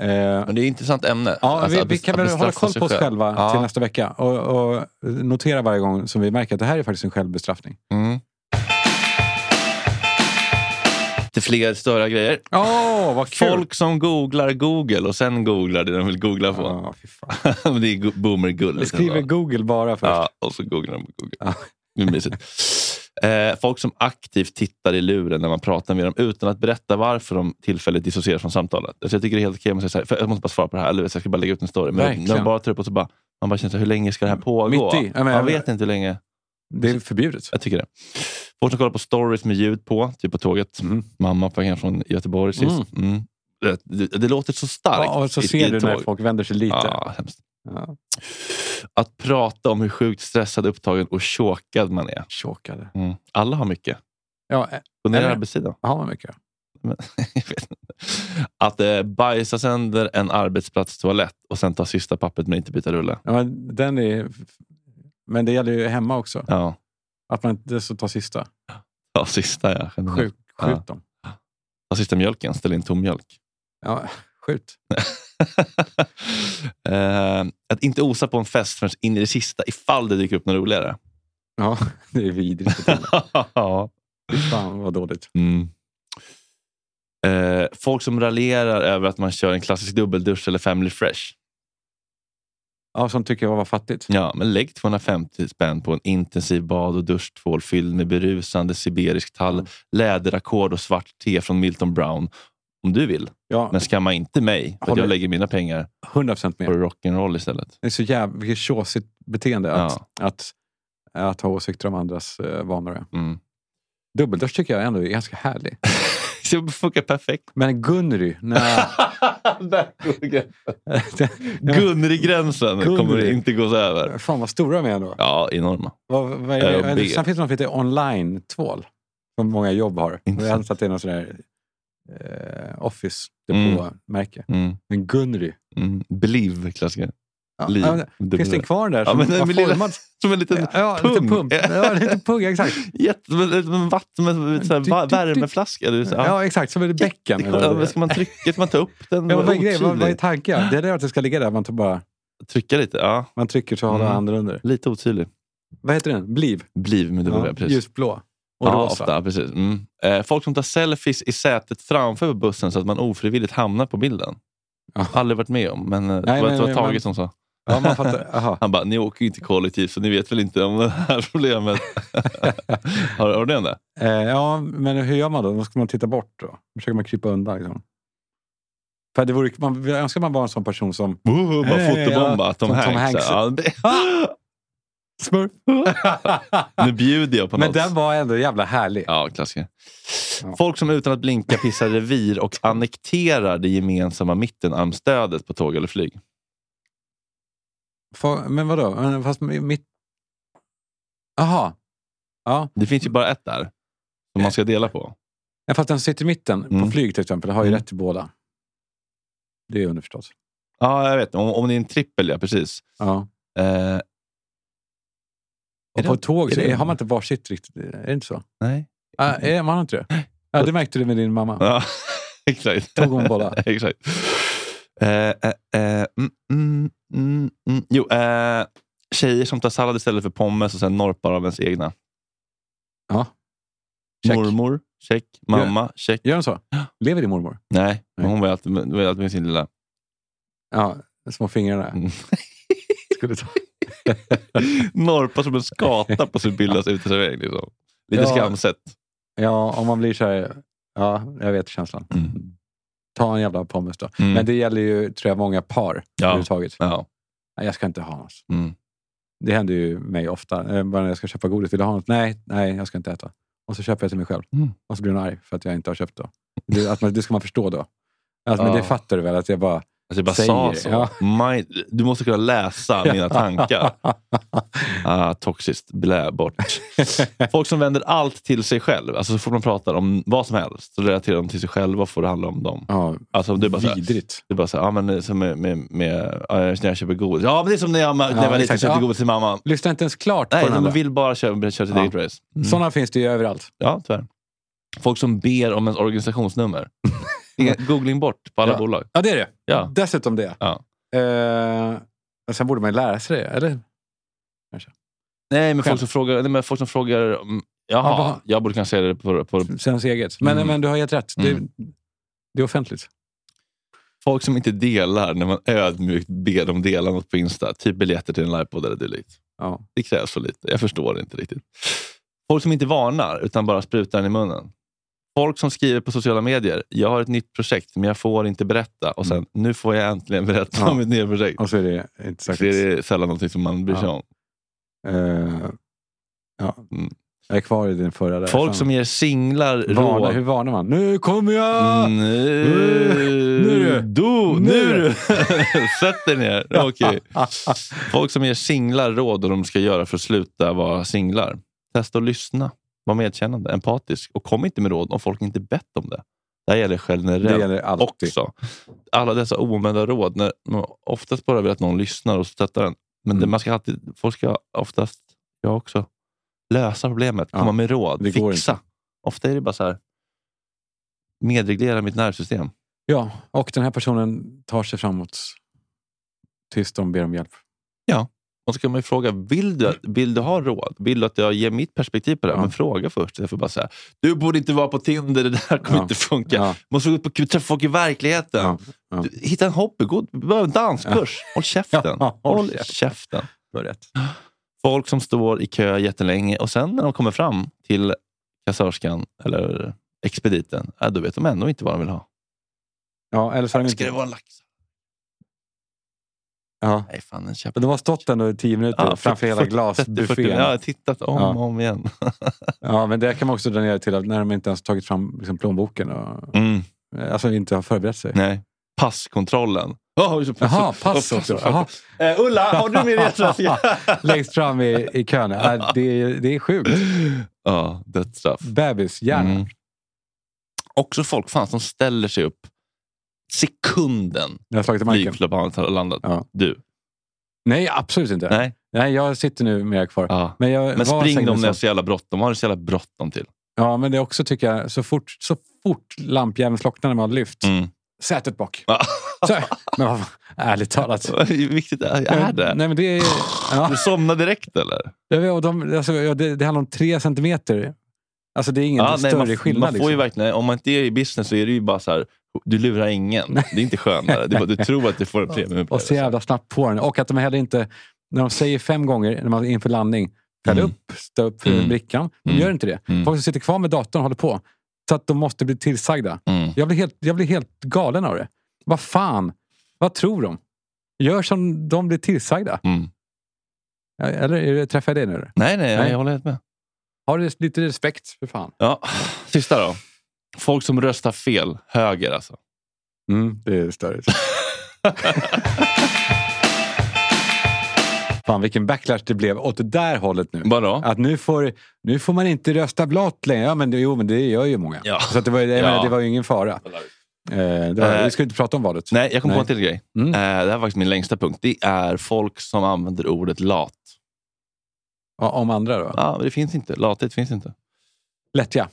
S3: Eh,
S4: men det är ett intressant ämne.
S3: Ja,
S4: Alltså,
S3: vi,
S4: att
S3: vi
S4: bes-
S3: kan
S4: att
S3: väl hålla
S4: bestraffa
S3: koll
S4: sig
S3: på oss
S4: själv.
S3: själva
S4: Ja.
S3: till nästa vecka och, och notera varje gång som vi märker att det här är faktiskt en självbestraffning.
S4: Mm. Till fler störa grejer.
S3: Åh, vad kul!
S4: Folk som googlar Google och sen googlar det de vill googla på.
S3: Ja, fy fan.
S4: det är go- boomergull.
S3: Vi skriver Google bara först.
S4: Ja, och så googlar de på Google.
S3: Ja.
S4: Det är mysigt. Eh, folk som aktivt tittar i luren när man pratar med dem utan att berätta varför de tillfälligt dissocierar från samtalet. Alltså jag tycker det är helt okej om man säger så här, för jag måste bara svara på det här, eller jag ska bara lägga ut en story. Men
S3: Verkligen.
S4: när de bara tar upp och så bara, man bara känner så här, hur länge ska det här pågå?
S3: Mitt i. Ja, men jag-
S4: man vet inte hur länge.
S3: Det är förbjudet.
S4: Jag tycker det. Folk som kollar på stories med ljud på, typ på tåget.
S3: Mm.
S4: Mamma på vägen från Göteborg sist. Mm. Det, det, det låter så starkt.
S3: Ja, och så
S4: i-
S3: ser
S4: i
S3: du när
S4: tåg.
S3: folk vänder sig lite.
S4: Ja, hemskt.
S3: Ja.
S4: Att prata om hur sjukt stressad, upptagen och chokad man är.
S3: Chokade.
S4: Mm. Alla har mycket.
S3: Ja, ä-
S4: Gå ner i
S3: Eller?
S4: arbetstiden.
S3: har man mycket?
S4: Men, jag vet inte. Att eh, bajsa sönder en arbetsplatstoalett och sen ta sista pappret men inte byta rulle.
S3: Ja, men, den är, men det gäller ju hemma också.
S4: Ja,
S3: Att man inte så tar sista.
S4: ja sista ja. generellt.
S3: Skjut,
S4: Ja.
S3: skjut dem.
S4: Ta sista mjölken, ställ in tom mjölk.
S3: Ja, skjut.
S4: eh, att inte osa på en fest förrän in i det sista ifall det dyker upp något roligare.
S3: Ja, det är vidrigt.
S4: ja.
S3: Fy fan vad dåligt.
S4: Mm. Eh, folk som raljerar över att man kör en klassisk dubbeldusch eller family fresh.
S3: Ja, som tycker jag var fattigt.
S4: Ja, men lägg 250 spänn på en intensiv bad och duschtvål fylld med berusande siberisk tall, läderackord och svart te från Milton Brown. Om du vill.
S3: Ja,
S4: Men skamma inte mig för att
S3: Håller-
S4: jag lägger mina pengar
S3: 100%
S4: på
S3: med.
S4: rock'n'roll istället.
S3: Det är så jävla vilket tjåsigt beteende att, att, att ha åsikter om andras eh, vanor.
S4: Mm.
S3: Dubbeldusch tycker jag ändå är ganska härlig.
S4: Så det funkar perfekt.
S3: Men Gunry, nej.
S4: Där går gränsen.
S3: Gun-
S4: Gunrig-gränsen
S3: Gunrig.
S4: kommer inte gås över.
S3: fan vad stora de är ändå.
S4: Ja, enorma.
S3: Vad, vad är det?
S4: Ö, B.
S3: Sen finns det något som heter online-tvål. Som många jobb har. Jag
S4: Intressant.
S3: antar att det är någon sån där eh,
S4: Mm.
S3: office-depå-märke.
S4: Mm.
S3: Men Gunry.
S4: Mm. Bliv, klassiker.
S3: Ja,
S4: Liv.
S3: ja, men- finns det en kvar där som
S4: men den
S3: var
S4: med lilla-
S3: formad?
S4: Som en liten
S3: Ja,
S4: pung.
S3: lite pump. Ja, lite pung, exakt.
S4: Jätte, en vatten, en sån här va- värmeflaska. Eller så.
S3: Ja, exakt. Som ett bäcken.
S4: Det
S3: eller vad
S4: kommer-
S3: det är.
S4: Ska man trycka? Ska man ta upp den?
S3: Ja,
S4: Det
S3: vad,
S4: var
S3: är grejen? vad, vad är
S4: otydlig.
S3: tanken? Det är det att det ska ligga där. Man, tar bara,
S4: Trycka lite? Ja,
S3: man trycker så håller
S4: Mm.
S3: handen under.
S4: lite otydlig.
S3: Vad heter den? Bliv?
S4: Bliv med W.
S3: Ja,
S4: precis.
S3: ljusblå. Och
S4: ja,
S3: rosa.
S4: ofta, precis. Mm. Eh, folk som tar selfies i sätet framför på bussen så att man ofrivilligt hamnar på bilden.
S3: Ja.
S4: Aldrig varit med om, men eh, det
S3: Nej,
S4: var, det
S3: men-
S4: var Tage
S3: men-
S4: som sa.
S3: Ja, man fattar. Aha.
S4: Han bara, ni åker ju inte kollektivt så ni vet väl inte om det här problemet. har, har du det? Anna?
S3: Eh, ja, men hur gör man då? Då ska man titta bort då? Försöker man krypa undan? Liksom? För det vore, man, jag önskar man var en sån person som...
S4: Oh, bara
S3: Eh,
S4: fotobomba
S3: ja,
S4: Tom
S3: som Tom
S4: Hanks.
S3: Hanks.
S4: Ja, det,
S3: Smurf!
S4: nu bjuder jag på
S3: men
S4: något.
S3: den var ändå jävla härlig.
S4: Ja, klassiker.
S3: Ja.
S4: Folk som utan att blinka pissar revir och annekterar det gemensamma mittenarmstödet på tåg eller flyg.
S3: Fa- Men vadå? Men Fast mitt... Aha. Ja.
S4: Det finns ju bara ett där som man ska dela på.
S3: Ja, Fast den som sitter i mitten,
S4: Mm.
S3: på flyg till exempel, har ju
S4: Mm.
S3: rätt till båda. Det är underförstått.
S4: Ja, jag vet. Om, om det är en trippel, ja. Precis.
S3: Ja.
S4: Eh,
S3: Och
S4: det-
S3: på tåg
S4: är
S3: så
S4: det-
S3: har man inte varsitt riktigt. Är det inte så?
S4: Nej.
S3: Ah, är, man har inte det? Ja, det märkte du med din mamma.
S4: Ja, exakt.
S3: Tog hon båda?
S4: exakt. Eh, eh, eh, mm, mm, mm, mm. Jo, eh, tjejer som tar sallad istället för pommes och sen norpar av ens egna.
S3: Ja. Check.
S4: Mormor, check. Mamma, check.
S3: Gör hon så? Lever din mormor?
S4: Nej, men
S3: Nej.
S4: hon var ju alltid, var ju alltid med sin lilla...
S3: Ja, små fingrarna.
S4: Mm.
S3: Skulle ta.
S4: Norpa som en skata på sin bildas uteservering. Liksom. Lite
S3: Ja.
S4: skamset.
S3: Ja, om man blir så här... Ja, jag vet känslan.
S4: Mm.
S3: Ta en jävla pommes då.
S4: Mm.
S3: Men det gäller ju, tror jag, många par
S4: Ja.
S3: överhuvudtaget.
S4: Ja.
S3: Nej, jag ska inte ha något.
S4: Mm.
S3: Det händer ju mig ofta. Eh, Bara när jag ska köpa godis. Vill du ha något? Nej, nej, jag ska inte äta. Och så köper jag till mig själv.
S4: Mm.
S3: Och så blir hon arg för att jag inte har köpt då. Det, att man, det ska man förstå då. Alltså, Men
S4: Ja.
S3: det fattar du väl? Att jag bara...
S4: Alltså jag bara
S3: Säger
S4: sa
S3: det,
S4: så.
S3: ja.
S4: Maj- du måste kunna läsa mina tankar. Ah, toxiskt. Blä bort. Folk som vänder allt till sig själv. Alltså så fort man pratar om vad som helst så relaterar de till sig själva och får det handla om dem.
S3: ja,
S4: Alltså du bara så här-
S3: vidrigt.
S4: du bara så här, ja men eh, som med, med, med ja, när jag köper godis. Ja men det är som när jag, när jag var liten
S3: exakt.
S4: köpte
S3: Ja.
S4: godis till mamma.
S3: Lyssna inte ens klart
S4: Nej,
S3: på den
S4: de
S3: andra.
S4: vill bara köra, köra sitt
S3: Ja.
S4: eget race. Mm.
S3: Sådana finns det ju överallt.
S4: Ja, tyvärr. Folk som ber om ens organisationsnummer. Inga- Googling bort på alla
S3: Ja.
S4: bolag.
S3: Ja, det är det.
S4: Ja.
S3: Dessutom det.
S4: Ja.
S3: Eh, och sen borde man ju lära sig det, eller?
S4: Nej, men
S3: Själv.
S4: folk som frågar... Nej, men folk som frågar om- Jaha,
S3: Ja, vad-
S4: jag borde kunna säga det på, på...
S3: Sen eget. Men,
S4: Mm.
S3: men du har helt rätt.
S4: Mm.
S3: Det, det är offentligt.
S4: Folk som inte delar när man ödmjukt ber dem dela något på Insta. Typ biljetter till en livepodd eller dylikt.
S3: Ja.
S4: Det krävs så lite. Jag förstår det inte riktigt. Folk som inte varnar, utan bara sprutar den i munnen. Folk som skriver på sociala medier. Jag har ett nytt projekt, men jag får inte berätta. Och sen, nu får jag äntligen berätta
S3: Mm. Ja.
S4: om mitt nya projekt.
S3: Och så är det inte säkert.
S4: Så är det sällan någonting som man bryr sig
S3: Ja.
S4: om.
S3: Eh, ja.
S4: Mm.
S3: Jag är kvar i din förra. Där.
S4: Folk som
S3: Fan.
S4: ger singlar
S3: varnar. Hur
S4: råd.
S3: varnar man? Nu kommer jag!
S4: Mm, Nu
S3: Nu.
S4: du!
S3: Nu.
S4: Nu du! Sätt dig ner. Okej.
S3: Ah, ah.
S4: Folk som ger singlar råd om de ska göra för att sluta vara singlar. Testa att lyssna. Var medkännande, empatisk och kom inte med råd om folk inte bett om det. Det här gäller generellt
S3: Det gäller alltid.
S4: också. Alla dessa oomvända råd. När man oftast bara vill att någon lyssnar och stöttar den. Men det,
S3: Mm.
S4: man ska alltid, folk ska oftast, jag också, lösa problemet.
S3: Ja,
S4: Komma med råd.
S3: det går
S4: Fixa. Ofta är det bara så här, medreglera mitt nervsystem.
S3: Ja, och den här personen tar sig framåt tills de ber om hjälp.
S4: Och så kan man ju fråga, vill du, vill du ha råd? Vill du att jag ger mitt perspektiv på det? här?
S3: Ja.
S4: Men fråga först. Jag får bara säga, du borde inte vara på Tinder, det där kommer
S3: Ja.
S4: inte funka.
S3: Ja,
S4: Måste gå ut på träffa folk i verkligheten.
S3: ja, ja.
S4: Du, hitta en hobby, gå gå en danskurs. Håll käften.
S3: Ja, håll
S4: håll
S3: käften.
S4: käften.
S3: Du har rätt.
S4: Folk som står i kö jättelänge och sen när de kommer fram till kassörskan eller expediten, ja, då vet de ändå inte vad de vill ha.
S3: Ja, eller så har de
S4: Ska det
S3: inte...
S4: vara en lax?
S3: Ja.
S4: Nej, fan en käpp.
S3: Men De har stått ändå i tio minuter framför hela
S4: 40, 40, 40,
S3: glasbuffén.
S4: Ja, jag
S3: Ja.
S4: har tittat om
S3: Ja.
S4: och om igen.
S3: men det kan man också dra ner till att när de inte ens tagit fram liksom, plånboken och
S4: Mm.
S3: alltså, inte har förberett sig.
S4: Nej. Passkontrollen. Oh, just det,
S3: Jaha, pass också. Jaha.
S4: Eh, Ulla, har du min resväska?
S3: Längst fram i, i kön. Ja, det, är- det är sjukt.
S4: ja, dödsstraff.
S3: Bebis, hjärna.
S4: Mm. Också folk fan, som ställer sig upp sekunden
S3: Jag har slagit i marken.
S4: flygplanet har landat.
S3: Ja.
S4: Du.
S3: Nej, absolut inte. Nej.
S4: Nej.
S3: jag sitter nu med kvar.
S4: Ja.
S3: Men, jag
S4: Men
S3: var
S4: spring
S3: säkert
S4: dem när
S3: så.
S4: det är så jävla bråttom. Har du så jävla bråttom till?
S3: Ja, men det är också tycker jag, så fort, så fort lampjäveln slocknar när man har lyft,
S4: Mm.
S3: sätet bak.
S4: Ja.
S3: Så, här. men vad fan, ärligt talat.
S4: Hur viktigt är, är det?
S3: Nej, men det, är, ja,
S4: Du somnade direkt eller?
S3: jag vet, och de, alltså, ja, det, det handlar om tre centimeter. Alltså det är ingen
S4: nej,
S3: större
S4: man,
S3: skillnad.
S4: man får ju
S3: liksom.
S4: verkligen, om man inte är i business så är det ju bara så här, du lurar ingen. Det är inte skönare. Du, bara- du tror att du får en premium.
S3: Och så jävla snabbt på den. Och att de heller inte, när de säger fem gånger när man är inför landning, fäll
S4: Mm.
S3: upp, stå upp för
S4: Mm.
S3: brickan. De
S4: Mm.
S3: gör inte det.
S4: Mm.
S3: Folk som sitter kvar med datorn håller på. Så att de måste bli tillsagda.
S4: Mm.
S3: Jag blir helt, jag blir helt galen av det. Vad fan? Vad tror de? Gör som de blir tillsagda.
S4: Mm.
S3: Eller är det, träffar jag dig nu? eller?
S4: Nej, nej,
S3: Nej.
S4: jag håller helt med.
S3: Har du lite respekt för fan?
S4: Ja. Sista då. Folk som röstar fel. Höger alltså.
S3: Mm, det är störigt. fan vilken backlash det blev åt det där hållet nu.
S4: Vadå?
S3: Att nu får, nu får man inte rösta blått längre. Ja, men det, jo, men det gör ju många.
S4: Ja.
S3: Så att det, var, ju- jag
S4: Ja.
S3: menar, det var ju ingen fara. Eh, det var,
S4: Eh,
S3: vi skulle inte prata om valet.
S4: Nej, jag kom på
S3: Nej.
S4: en till grej.
S3: Mm.
S4: Eh, det här är faktiskt min längsta punkt. Det är folk som använder ordet lat.
S3: Ja, Om andra då?
S4: Ja, men det finns inte. Lathet finns inte.
S3: Lättja?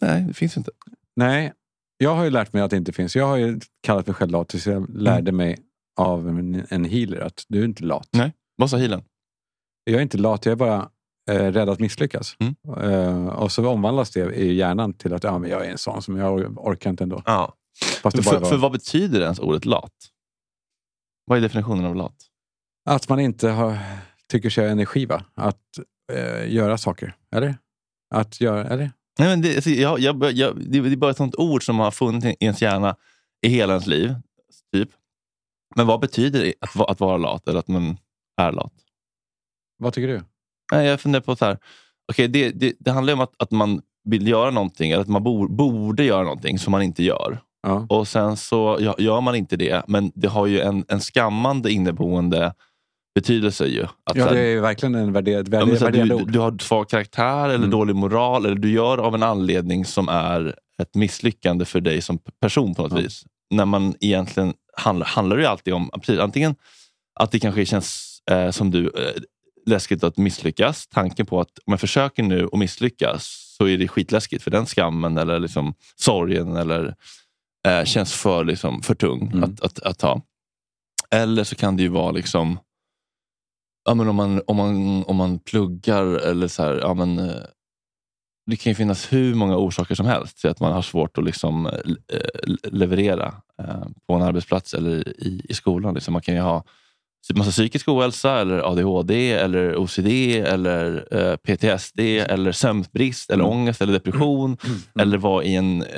S4: Nej, det finns inte.
S3: Nej, jag har ju lärt mig att det inte finns. Jag har ju kallat mig själv lat tills jag lärde mig av en, en healer att du är inte lat.
S4: Mm. Nej. Vad sa healern?
S3: Jag är inte lat, jag är bara eh, rädd att misslyckas.
S4: Mm.
S3: Eh, och så omvandlas det i hjärnan till att ja, men jag är en sån som jag or- orkar inte ändå.
S4: Ja.
S3: Fast det bara
S4: För, för
S3: var,
S4: vad betyder ens ordet lat? Vad är definitionen av lat?
S3: att man inte har, tycker sig ha energi va? att eh, göra saker. Eller? Att göra, eller?
S4: Nej, men det, alltså, jag, jag, jag, det, det är bara ett sånt ord som har funnits i ens hjärna i hela ens liv. Typ. Men vad betyder det att, va- att vara lat eller att man är lat?
S3: Vad tycker du?
S4: Nej, jag funderar på så här. Okej, det, det, det handlar ju om att, att man vill göra någonting, eller att man bor, borde göra någonting som man inte gör.
S3: Ja.
S4: Och sen så ja, gör man inte det, men det har ju en, en skammande inneboende betydelse. ju. Att så
S3: Ja,
S4: här,
S3: det är ju verkligen en värderad,
S4: Ja, men så att
S3: värderad
S4: du,
S3: ord.
S4: du har svag karaktär eller
S3: Mm.
S4: dålig moral. Eller du gör av en anledning som är ett misslyckande för dig som p- person på något
S3: Ja.
S4: vis. När man egentligen handlar, handlar det ju alltid om precis, antingen att det kanske känns eh, som du eh, läskigt att misslyckas. Tanken på att om jag försöker nu och misslyckas så är det skitläskigt för den skammen eller liksom sorgen eller eh, känns för, liksom, för tung
S3: Mm.
S4: att, att, att ta. Eller så kan det ju vara liksom ja, men om, man, om, man, om man pluggar eller så här, ja, men, eh, det kan ju finnas hur många orsaker som helst till att man har svårt att liksom, eh, eh, leverera eh, på en arbetsplats eller i, i skolan. Liksom. Man kan ju ha typ massa psykisk ohälsa, eller ADHD, eller OCD, eller eh, PTSD, eller sömnbrist, eller ångest, eller depression. Eller vara i en eh,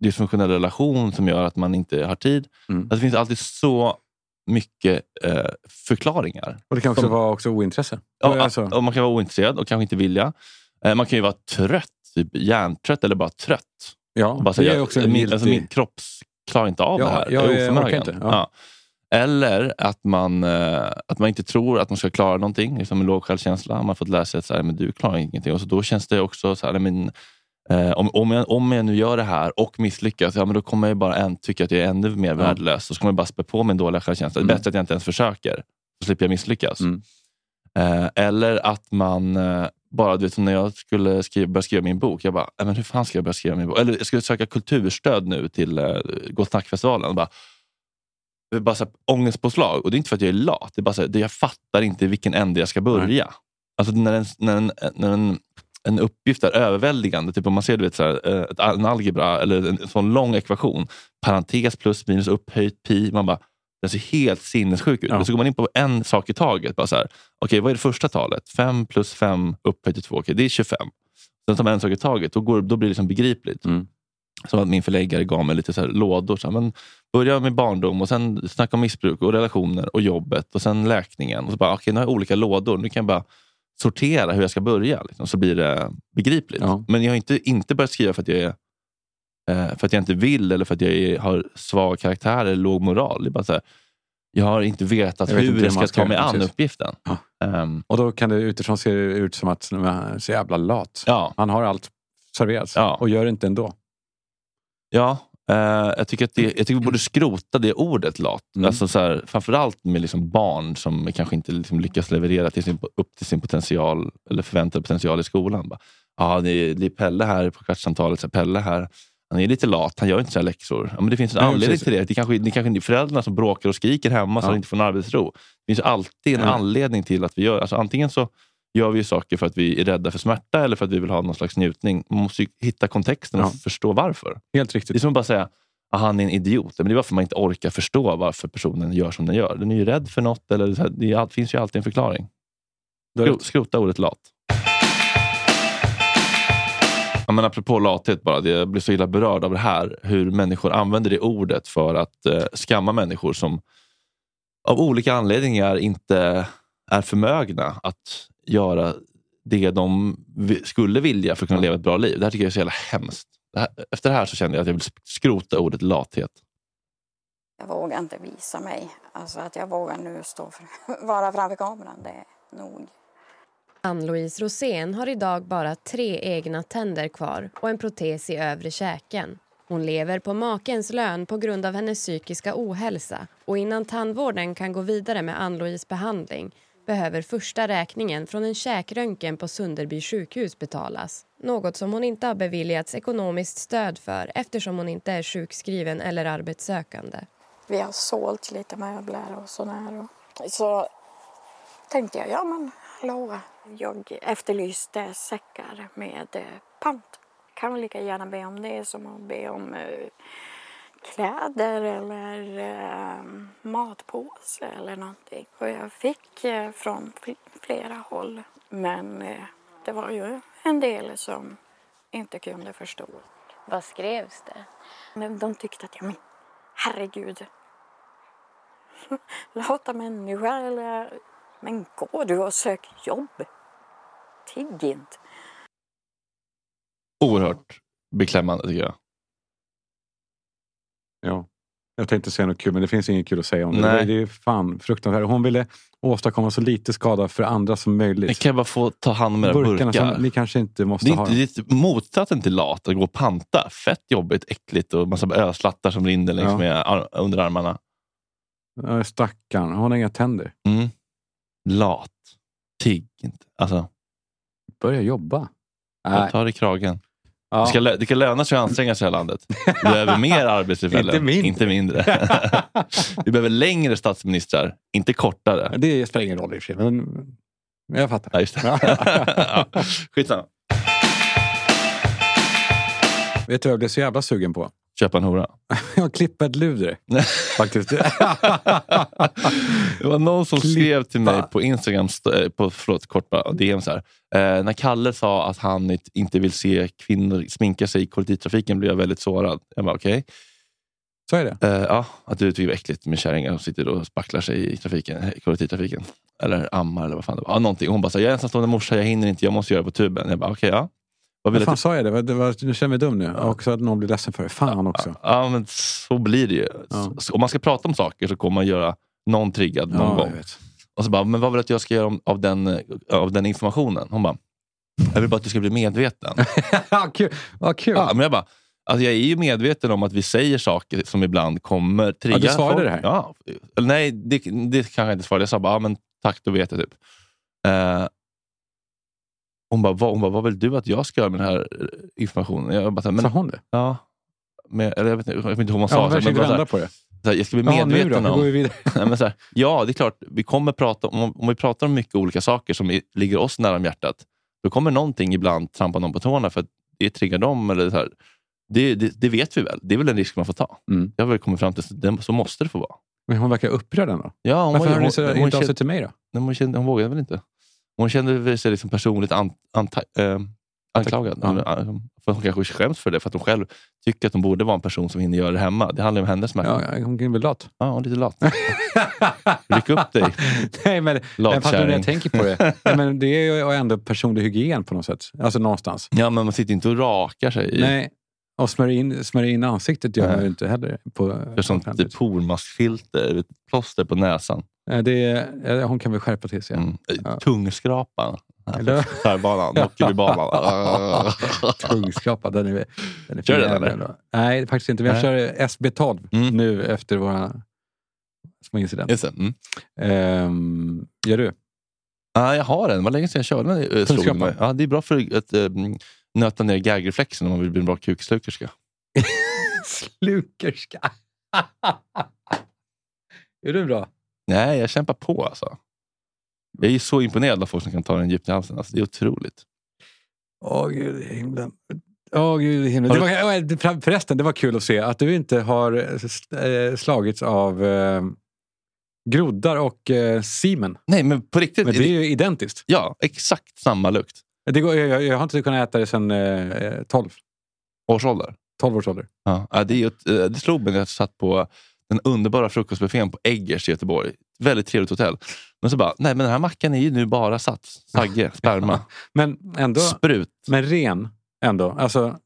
S4: dysfunktionell relation som gör att man inte har tid.
S3: Mm.
S4: Alltså, det finns alltid så mycket eh, förklaringar
S3: Och det kan också
S4: som-
S3: vara också ointresse.
S4: Ja,
S3: Alltså,
S4: och man kan vara ointresserad och kanske inte vilja. Eh, Man kan ju vara trött, typ hjärntrött eller bara trött.
S3: ja,
S4: Bara så,
S3: det
S4: jag,
S3: är också en
S4: min, alltså,
S3: giltig-
S4: min kropp s- klarar inte av
S3: Ja,
S4: det här.
S3: jag
S4: är
S3: är-
S4: oförmögen.
S3: orkar inte, ja.
S4: Eller att man, eh, att man inte tror att man ska klara någonting. Liksom en låg självkänsla. Man har fått lära sig att så här, men du klarar ingenting. Och så, då känns det också så här, nej, men, eh, om, om, jag, om jag nu gör det här och misslyckas, ja, men då kommer jag bara en, tycka att jag är ännu mer värdelös. Och så kommer jag bara spä på min dåliga självkänsla. Det är
S3: Mm.
S4: bättre att jag inte ens försöker. Så slipper jag misslyckas.
S3: Mm.
S4: Eh, eller att man eh, bara, du vet, som när jag skulle skriva, börja skriva min bok, jag bara, "Nej, men hur fan ska jag börja skriva min bok? Eller jag skulle söka kulturstöd nu till eh, Gott snackfestivalen. Och bara, det är bara så här, ångestpåslag. Och det är inte för att jag är lat, det är bara så här, det, jag fattar inte i vilken ände jag ska börja. Alltså när en, när en, när en en uppgift är överväldigande. Typ om man ser du vet, så här, eh, ett, al- en algebra eller en sån lång ekvation. Parentes plus minus upphöjt pi. Man bara, den ser helt sinnessjuk ut.
S3: Ja.
S4: Men så går man in på en sak i taget. Bara så här, okej, vad är det första talet? 5 plus 5 upphöjt till 2. Okej, det är 25. Sen tar man en sak i taget. Då, går, då blir det liksom begripligt.
S3: Mm.
S4: Som att min förläggare gav mig lite så här lådor. Så här, men börja med barndom och sen snacka om missbruk och relationer och jobbet och sen läkningen. Och så bara, okej, nu har jag olika lådor. Nu kan jag bara sortera hur jag ska börja. Liksom, så blir det begripligt.
S3: Ja.
S4: Men jag har inte, inte börjat skriva för att jag är eh, för att jag inte vill eller för att jag är, har svag karaktär eller låg moral. Det är bara så här, jag har inte vetat
S3: Jag vet
S4: hur
S3: inte hur
S4: jag
S3: man
S4: ska
S3: ska
S4: ta mig
S3: göra,
S4: an
S3: precis.
S4: uppgiften.
S3: Ja.
S4: Ehm,
S3: Och då kan det utifrån se ut som att man är så jävla lat.
S4: ja,
S3: Han har allt serverats
S4: Ja.
S3: och gör det inte ändå.
S4: ja. Eh, jag, tycker att det, jag tycker vi borde skrota det ordet lat.
S3: Mm.
S4: Alltså så här, framförallt med liksom barn som kanske inte liksom lyckas leverera till sin, upp till sin potential eller förväntad potential i skolan. Bara, Ja, det är, det är Pelle här på kvartssamtalet. Så här, Pelle här. Han är lite lat, han gör inte sina läxor. Ja, men det finns en
S3: Nej,
S4: anledning
S3: precis.
S4: till det. Det kanske, det kanske är föräldrarna som bråkar och skriker hemma så
S3: Ja.
S4: de inte får någon arbetsro. Det finns alltid en
S3: Ja.
S4: anledning till att vi gör... Alltså, antingen så gör vi ju saker för att vi är rädda för smärta eller för att vi vill ha någon slags njutning. Man måste ju hitta kontexten och
S3: Ja.
S4: förstå varför.
S3: Helt
S4: Det är
S3: riktigt.
S4: som att bara säga att han är en idiot. Men det är bara för att man inte orkar förstå varför personen gör som den gör. Den är ju rädd för något. Eller så här, det är all- finns ju alltid en förklaring.
S3: Då är
S4: Skro-
S3: det-
S4: Skrota ordet lat. Ja, men apropå lathet, bara, det- jag blir så illa berörd av det här. Hur människor använder det ordet för att eh, skamma människor som av olika anledningar inte är förmögna att göra det de vi- skulle vilja för att kunna leva ett bra liv. Det här tycker jag är så jävla hemskt. Det här, efter det här så känner jag att jag vill skrota ordet lathet.
S5: Jag vågar inte visa mig. Alltså att jag vågar nu stå för, vara framför kameran, det är nog.
S6: Ann-Louise Rosén har idag bara tre egna tänder kvar och en protes i övre käken. Hon lever på makens lön på grund av hennes psykiska ohälsa och innan tandvården kan gå vidare med Ann-Louise behandling behöver första räkningen från en käkröntgen på Sunderby sjukhus betalas. Något som hon inte har beviljats ekonomiskt stöd för eftersom hon inte är sjukskriven eller arbetssökande.
S5: Vi har sålt lite möbler och sådär. Och så tänkte jag, ja men hallå. Jag efterlyste säckar med eh, pant. Kan vi lika gärna be om det som att be om eh, kläder eller eh, matpåse eller någonting. Och jag fick eh, från fl- flera håll. Men eh, det var ju en del som inte kunde förstå.
S7: Vad skrevs det?
S5: Men de tyckte att, ja men herregud. Lata människa eller... Men gå du och sök jobb. Tigg inte.
S4: Oerhört beklämmande tycker jag.
S3: Ja. Jag tänkte säga något kul, men det finns inget kul att säga om det.
S4: Nej.
S3: Nej. Det är ju fan fruktansvärt. Hon ville åstadkomma så lite skada för andra som
S4: Jag
S3: möjligt.
S4: kan bara få ta hand om era burkar.
S3: som ni kanske inte måste
S4: det är
S3: ha.
S4: inte, det är typ motsatsen till lat, att gå och panta. Fett jobbigt, äckligt och massa ölslattar som rinner längs
S3: Ja.
S4: med ar- under armarna.
S3: Ja, Stackarn, hon har inga tänder.
S4: Mm. Lat. Tigg inte. Alltså,
S3: Börja jobba.
S4: jag tar det i kragen.
S3: Ja.
S4: Det, ska, lö- det ska löna sig att anstränga sig i det här landet. Vi behöver mer arbetstillfällen,
S3: Inte mindre.
S4: Inte mindre. Vi behöver längre statsministrar, inte kortare.
S3: det spelar ingen roll i och för sig, men jag fattar.
S4: Ja, just det. ja. Skitsamma.
S3: Vet du vad jag blev så jävla sugen på?
S4: Köpa en hora.
S3: Jag klippa ett luder. Faktiskt.
S4: det var någon som
S3: Klippa.
S4: skrev till mig på Instagram, st- eh, på, förlåt, kort bara, DM så här. Eh, när Kalle sa att han it- inte vill se kvinnor sminka sig i kollektivtrafiken blev jag väldigt sårad. Jag bara, okej.
S3: så är det.
S4: Eh, ja, att du tycker det är äckligt med kärringar som sitter och spacklar sig i trafiken, i kollektivtrafiken. Eller ammar eller vad fan det var. Ja, någonting. Hon bara, så här, jag är ensamstående morsa, jag hinner inte, jag måste göra det på tuben. Jag bara, okej, ja. Vad
S3: Vad
S4: vill
S3: fan
S4: att
S3: sa jag det? Vad- det var, nu känner jag mig dum nu. Och så att någon blir ledsen för det. Fan också.
S4: Ja, men så blir det ju.
S3: Ja.
S4: Så- Om man ska prata om saker så kommer man göra någon triggad någon
S3: Ja, jag
S4: gång.
S3: vet.
S4: Och så bara, men vad vill du att jag ska göra om, av, den, eh, av den informationen? Hon bara, jag vill bara att du ska bli medveten.
S3: Ja, kul. Vad kul.
S4: ja, men jag bara, alltså jag är ju medveten om att vi säger saker som ibland kommer trigga
S3: Ja, du svarade
S4: folk.
S3: det här?
S4: Ja. Eller Nej, det, det kanske jag inte svarade. Jag sa bara, ja, men tack, då vet jag. Typ. Eh, hon, bara, vad, hon bara, vad vill du att jag ska göra med den här eh, informationen? Jag bara, så här,
S3: Sa
S4: men,
S3: hon det?
S4: ja, men, eller jag vet inte jag vet inte hur hon sa.
S3: Ja,
S4: så
S3: hon
S4: här, men
S3: försökte
S4: bara så här,
S3: vända på det.
S4: så här, jag ska bli
S3: Ja, nu då?
S4: medveten
S3: Hur
S4: om...
S3: går vi vidare?
S4: Nej, men så här, ja, det är klart. Vi kommer prata om, om vi pratar om mycket olika saker som i- ligger oss nära om hjärtat, då kommer någonting ibland trampa någon på tårna för att det triggar dem. Eller så här. Det, det, det vet vi väl. Det är väl en risk man får ta.
S3: Mm.
S4: Jag har väl kommit fram till att den- så måste det få vara.
S3: Men hon verkar upprörd ändå.
S4: Ja, hon,
S3: Varför
S4: var-
S3: hörde ni så
S4: hon, hon,
S3: inte av sig
S4: kände,
S3: till mig då?
S4: nej, hon, kände, hon vågade väl inte. Hon kände väl sig liksom personligt an, anta, eh, anklagad.
S3: Ja.
S4: Eller, eh, För hon kanske skäms för det, för att hon själv tycker att hon borde vara en person som hinner göra det hemma. Det handlar ju om hennes smärta. Ja,
S3: Ja, ja, hon är väl lat.
S4: hon är lite lat. Ryck upp dig.
S3: Nej, men, men fast nu när
S4: Latkärring.
S3: jag tänker på det. Nej, men det är ju ändå personlig hygien på något sätt. Alltså någonstans.
S4: Ja, men man sitter inte och rakar sig. i-
S3: Nej. Och smörja in, smörja in ansiktet gör
S4: Nej.
S3: man ju inte heller. På,
S4: Det är som typ pormaskfilter, ett plåster på näsan.
S3: Eh, det är, eh, hon kan väl skärpa till sig.
S4: Mm.
S3: Ja.
S4: Tungskrapan.
S3: Eller-
S4: Tvärbanan, Rockebybanan.
S3: Tungskrapa, den är, den är
S4: Kör
S3: fin
S4: den,
S3: jävel
S4: eller?
S3: ändå. Nej, faktiskt inte. Men jag
S4: Nej.
S3: kör SB12
S4: Mm.
S3: nu efter våra små incident.
S4: Just det. Mm.
S3: Ehm, gör du?
S4: Ah, jag har en. Vad länge sedan jag körde den. eh, Slog den
S3: Tungskrapan.
S4: mig. Ja, det är bra för att um, nöta ner gagreflexen om man vill bli en bra kukslukterska.
S3: Slukerska. är du bra?
S4: Nej, jag kämpar på alltså. Jag är ju så imponerad av folk som kan ta den djupt i halsen. Alltså, det är otroligt.
S3: Åh gud i himlen. Åh gud i himlen.
S4: Har
S3: Det var, åh, det- förresten, det var kul att se att du inte har eh, slagits av eh, groddar och eh, semen.
S4: Nej, men på riktigt.
S3: Men det är ju identiskt.
S4: Ja, exakt samma lukt.
S3: Det går, jag, jag- jag har inte kunnat äta det sedan eh, 12,
S4: Årsålder.
S3: 12 års ålder.
S4: Ja, ja, det, är ju ett, eh, det slog mig när jag satt på den underbara frukostbuffén på Eggers i Göteborg. Väldigt trevligt hotell. Men så bara, nej men den här mackan är ju nu bara sats, sagge, sperma,
S3: Men ändå,
S4: sprut.
S3: men ren ändå. Alltså,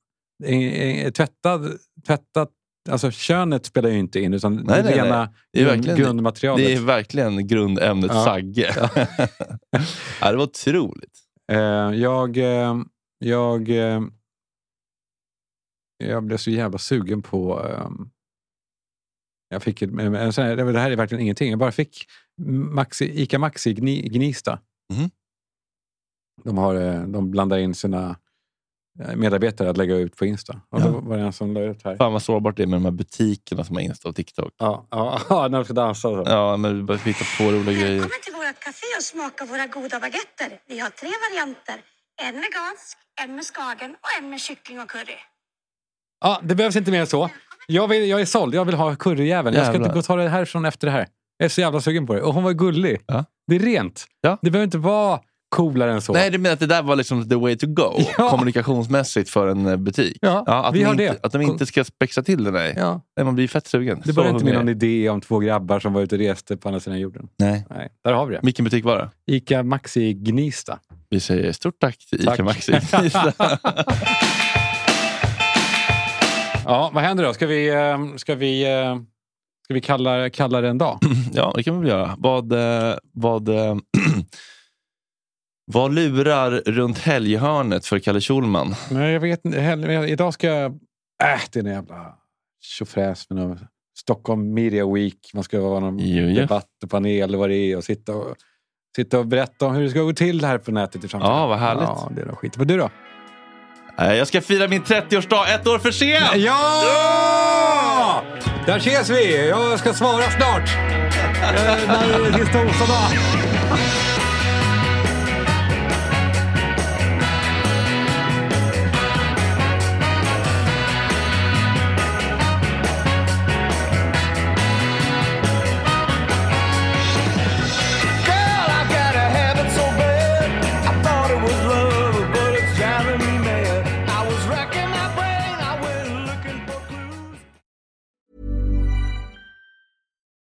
S3: eh, eh, tvättad, tvättat, alltså könet spelar ju inte in utan det
S4: Nej, nej,
S3: rena
S4: Det är
S3: grund-
S4: verkligen-
S3: grundmaterialet.
S4: Det är verkligen grundämnet
S3: Ja.
S4: sagge. ja, det var otroligt.
S3: Eh, jag, eh, jag, eh, jag blev så jävla sugen på eh, ehm, Jag fick, ett- men- men så här, det var- det här är verkligen ingenting. Jag bara fick Maxi, Ica Maxi Gni, Gnista.
S8: Mhm.
S3: De, har, eh, de blandar in sina eh, medarbetare att lägga ut på Insta. Och
S8: Ja.
S3: då var det en som la ut här.
S4: Fan vad sårbart det är med de här butikerna som har Insta och TikTok.
S3: Ja, ja, ja, när de ska dansa. och Så.
S4: Ja, men vi bara hitta på roliga grejer.
S9: Välkommen till vårt café och smaka våra goda baguetter. Vi har tre varianter. En vegansk, en med skagen och en med kyckling och curry.
S3: Ja, det behövs inte mer än så. Jag, vill, jag är såld. Jag vill ha curryjäveln. Jag ska
S4: Jävlar.
S3: inte gå och ta det härifrån efter det här. Jag är så jävla sugen på det. Och hon var gullig.
S4: Ja.
S3: Det är rent.
S4: Ja.
S3: Det behöver inte vara coolare än så.
S4: Nej, du menar att det där var liksom the way to go
S3: Ja.
S4: kommunikationsmässigt för en eh, butik?
S3: Ja,
S4: att,
S3: vi
S4: de
S3: har
S4: inte,
S3: det.
S4: att de inte ska spexa till det? Nej,
S3: Ja.
S4: nej man blir fett sugen.
S3: Det
S4: Så
S3: börjar inte med
S4: hungrig.
S3: någon idé om två grabbar som var ute och reste på andra sidan jorden.
S4: Nej.
S3: Nej, där har vi det.
S4: Vilken butik var det?
S3: Ica Maxi Gnista.
S4: Vi säger stort tack till Ica
S3: Tack.
S4: Maxi.
S3: Ja, vad händer då? Ska vi, eh, ska vi, eh, ska vi kalla, kalla det en dag?
S4: ja, det kan vi väl göra. Vad, eh, vad, eh, vad lurar runt helghörnet för Kalle Schulman?
S3: Men jag vet inte. heller, men Idag ska jag... Äh, det är en jävla tjofräs med någon Stockholm Media Week. Man ska vara någon
S4: Jo, jo.
S3: debatt och panel eller vad det är och sitta och, sitta och berätta om hur det ska gå till här på nätet i framtiden.
S4: Ja, vad härligt.
S3: Ja, det är nog skit. Men du då?
S4: Eh, Jag ska fira min 30-årsdag ett år för sent!
S3: Ja! Där ses vi! Jag ska svara snart. Eh, När det är torsdag.
S8: Girl, I got a habit so bad. I thought it was love, but it's driving me mad. I was racking my brain, I went looking for clues.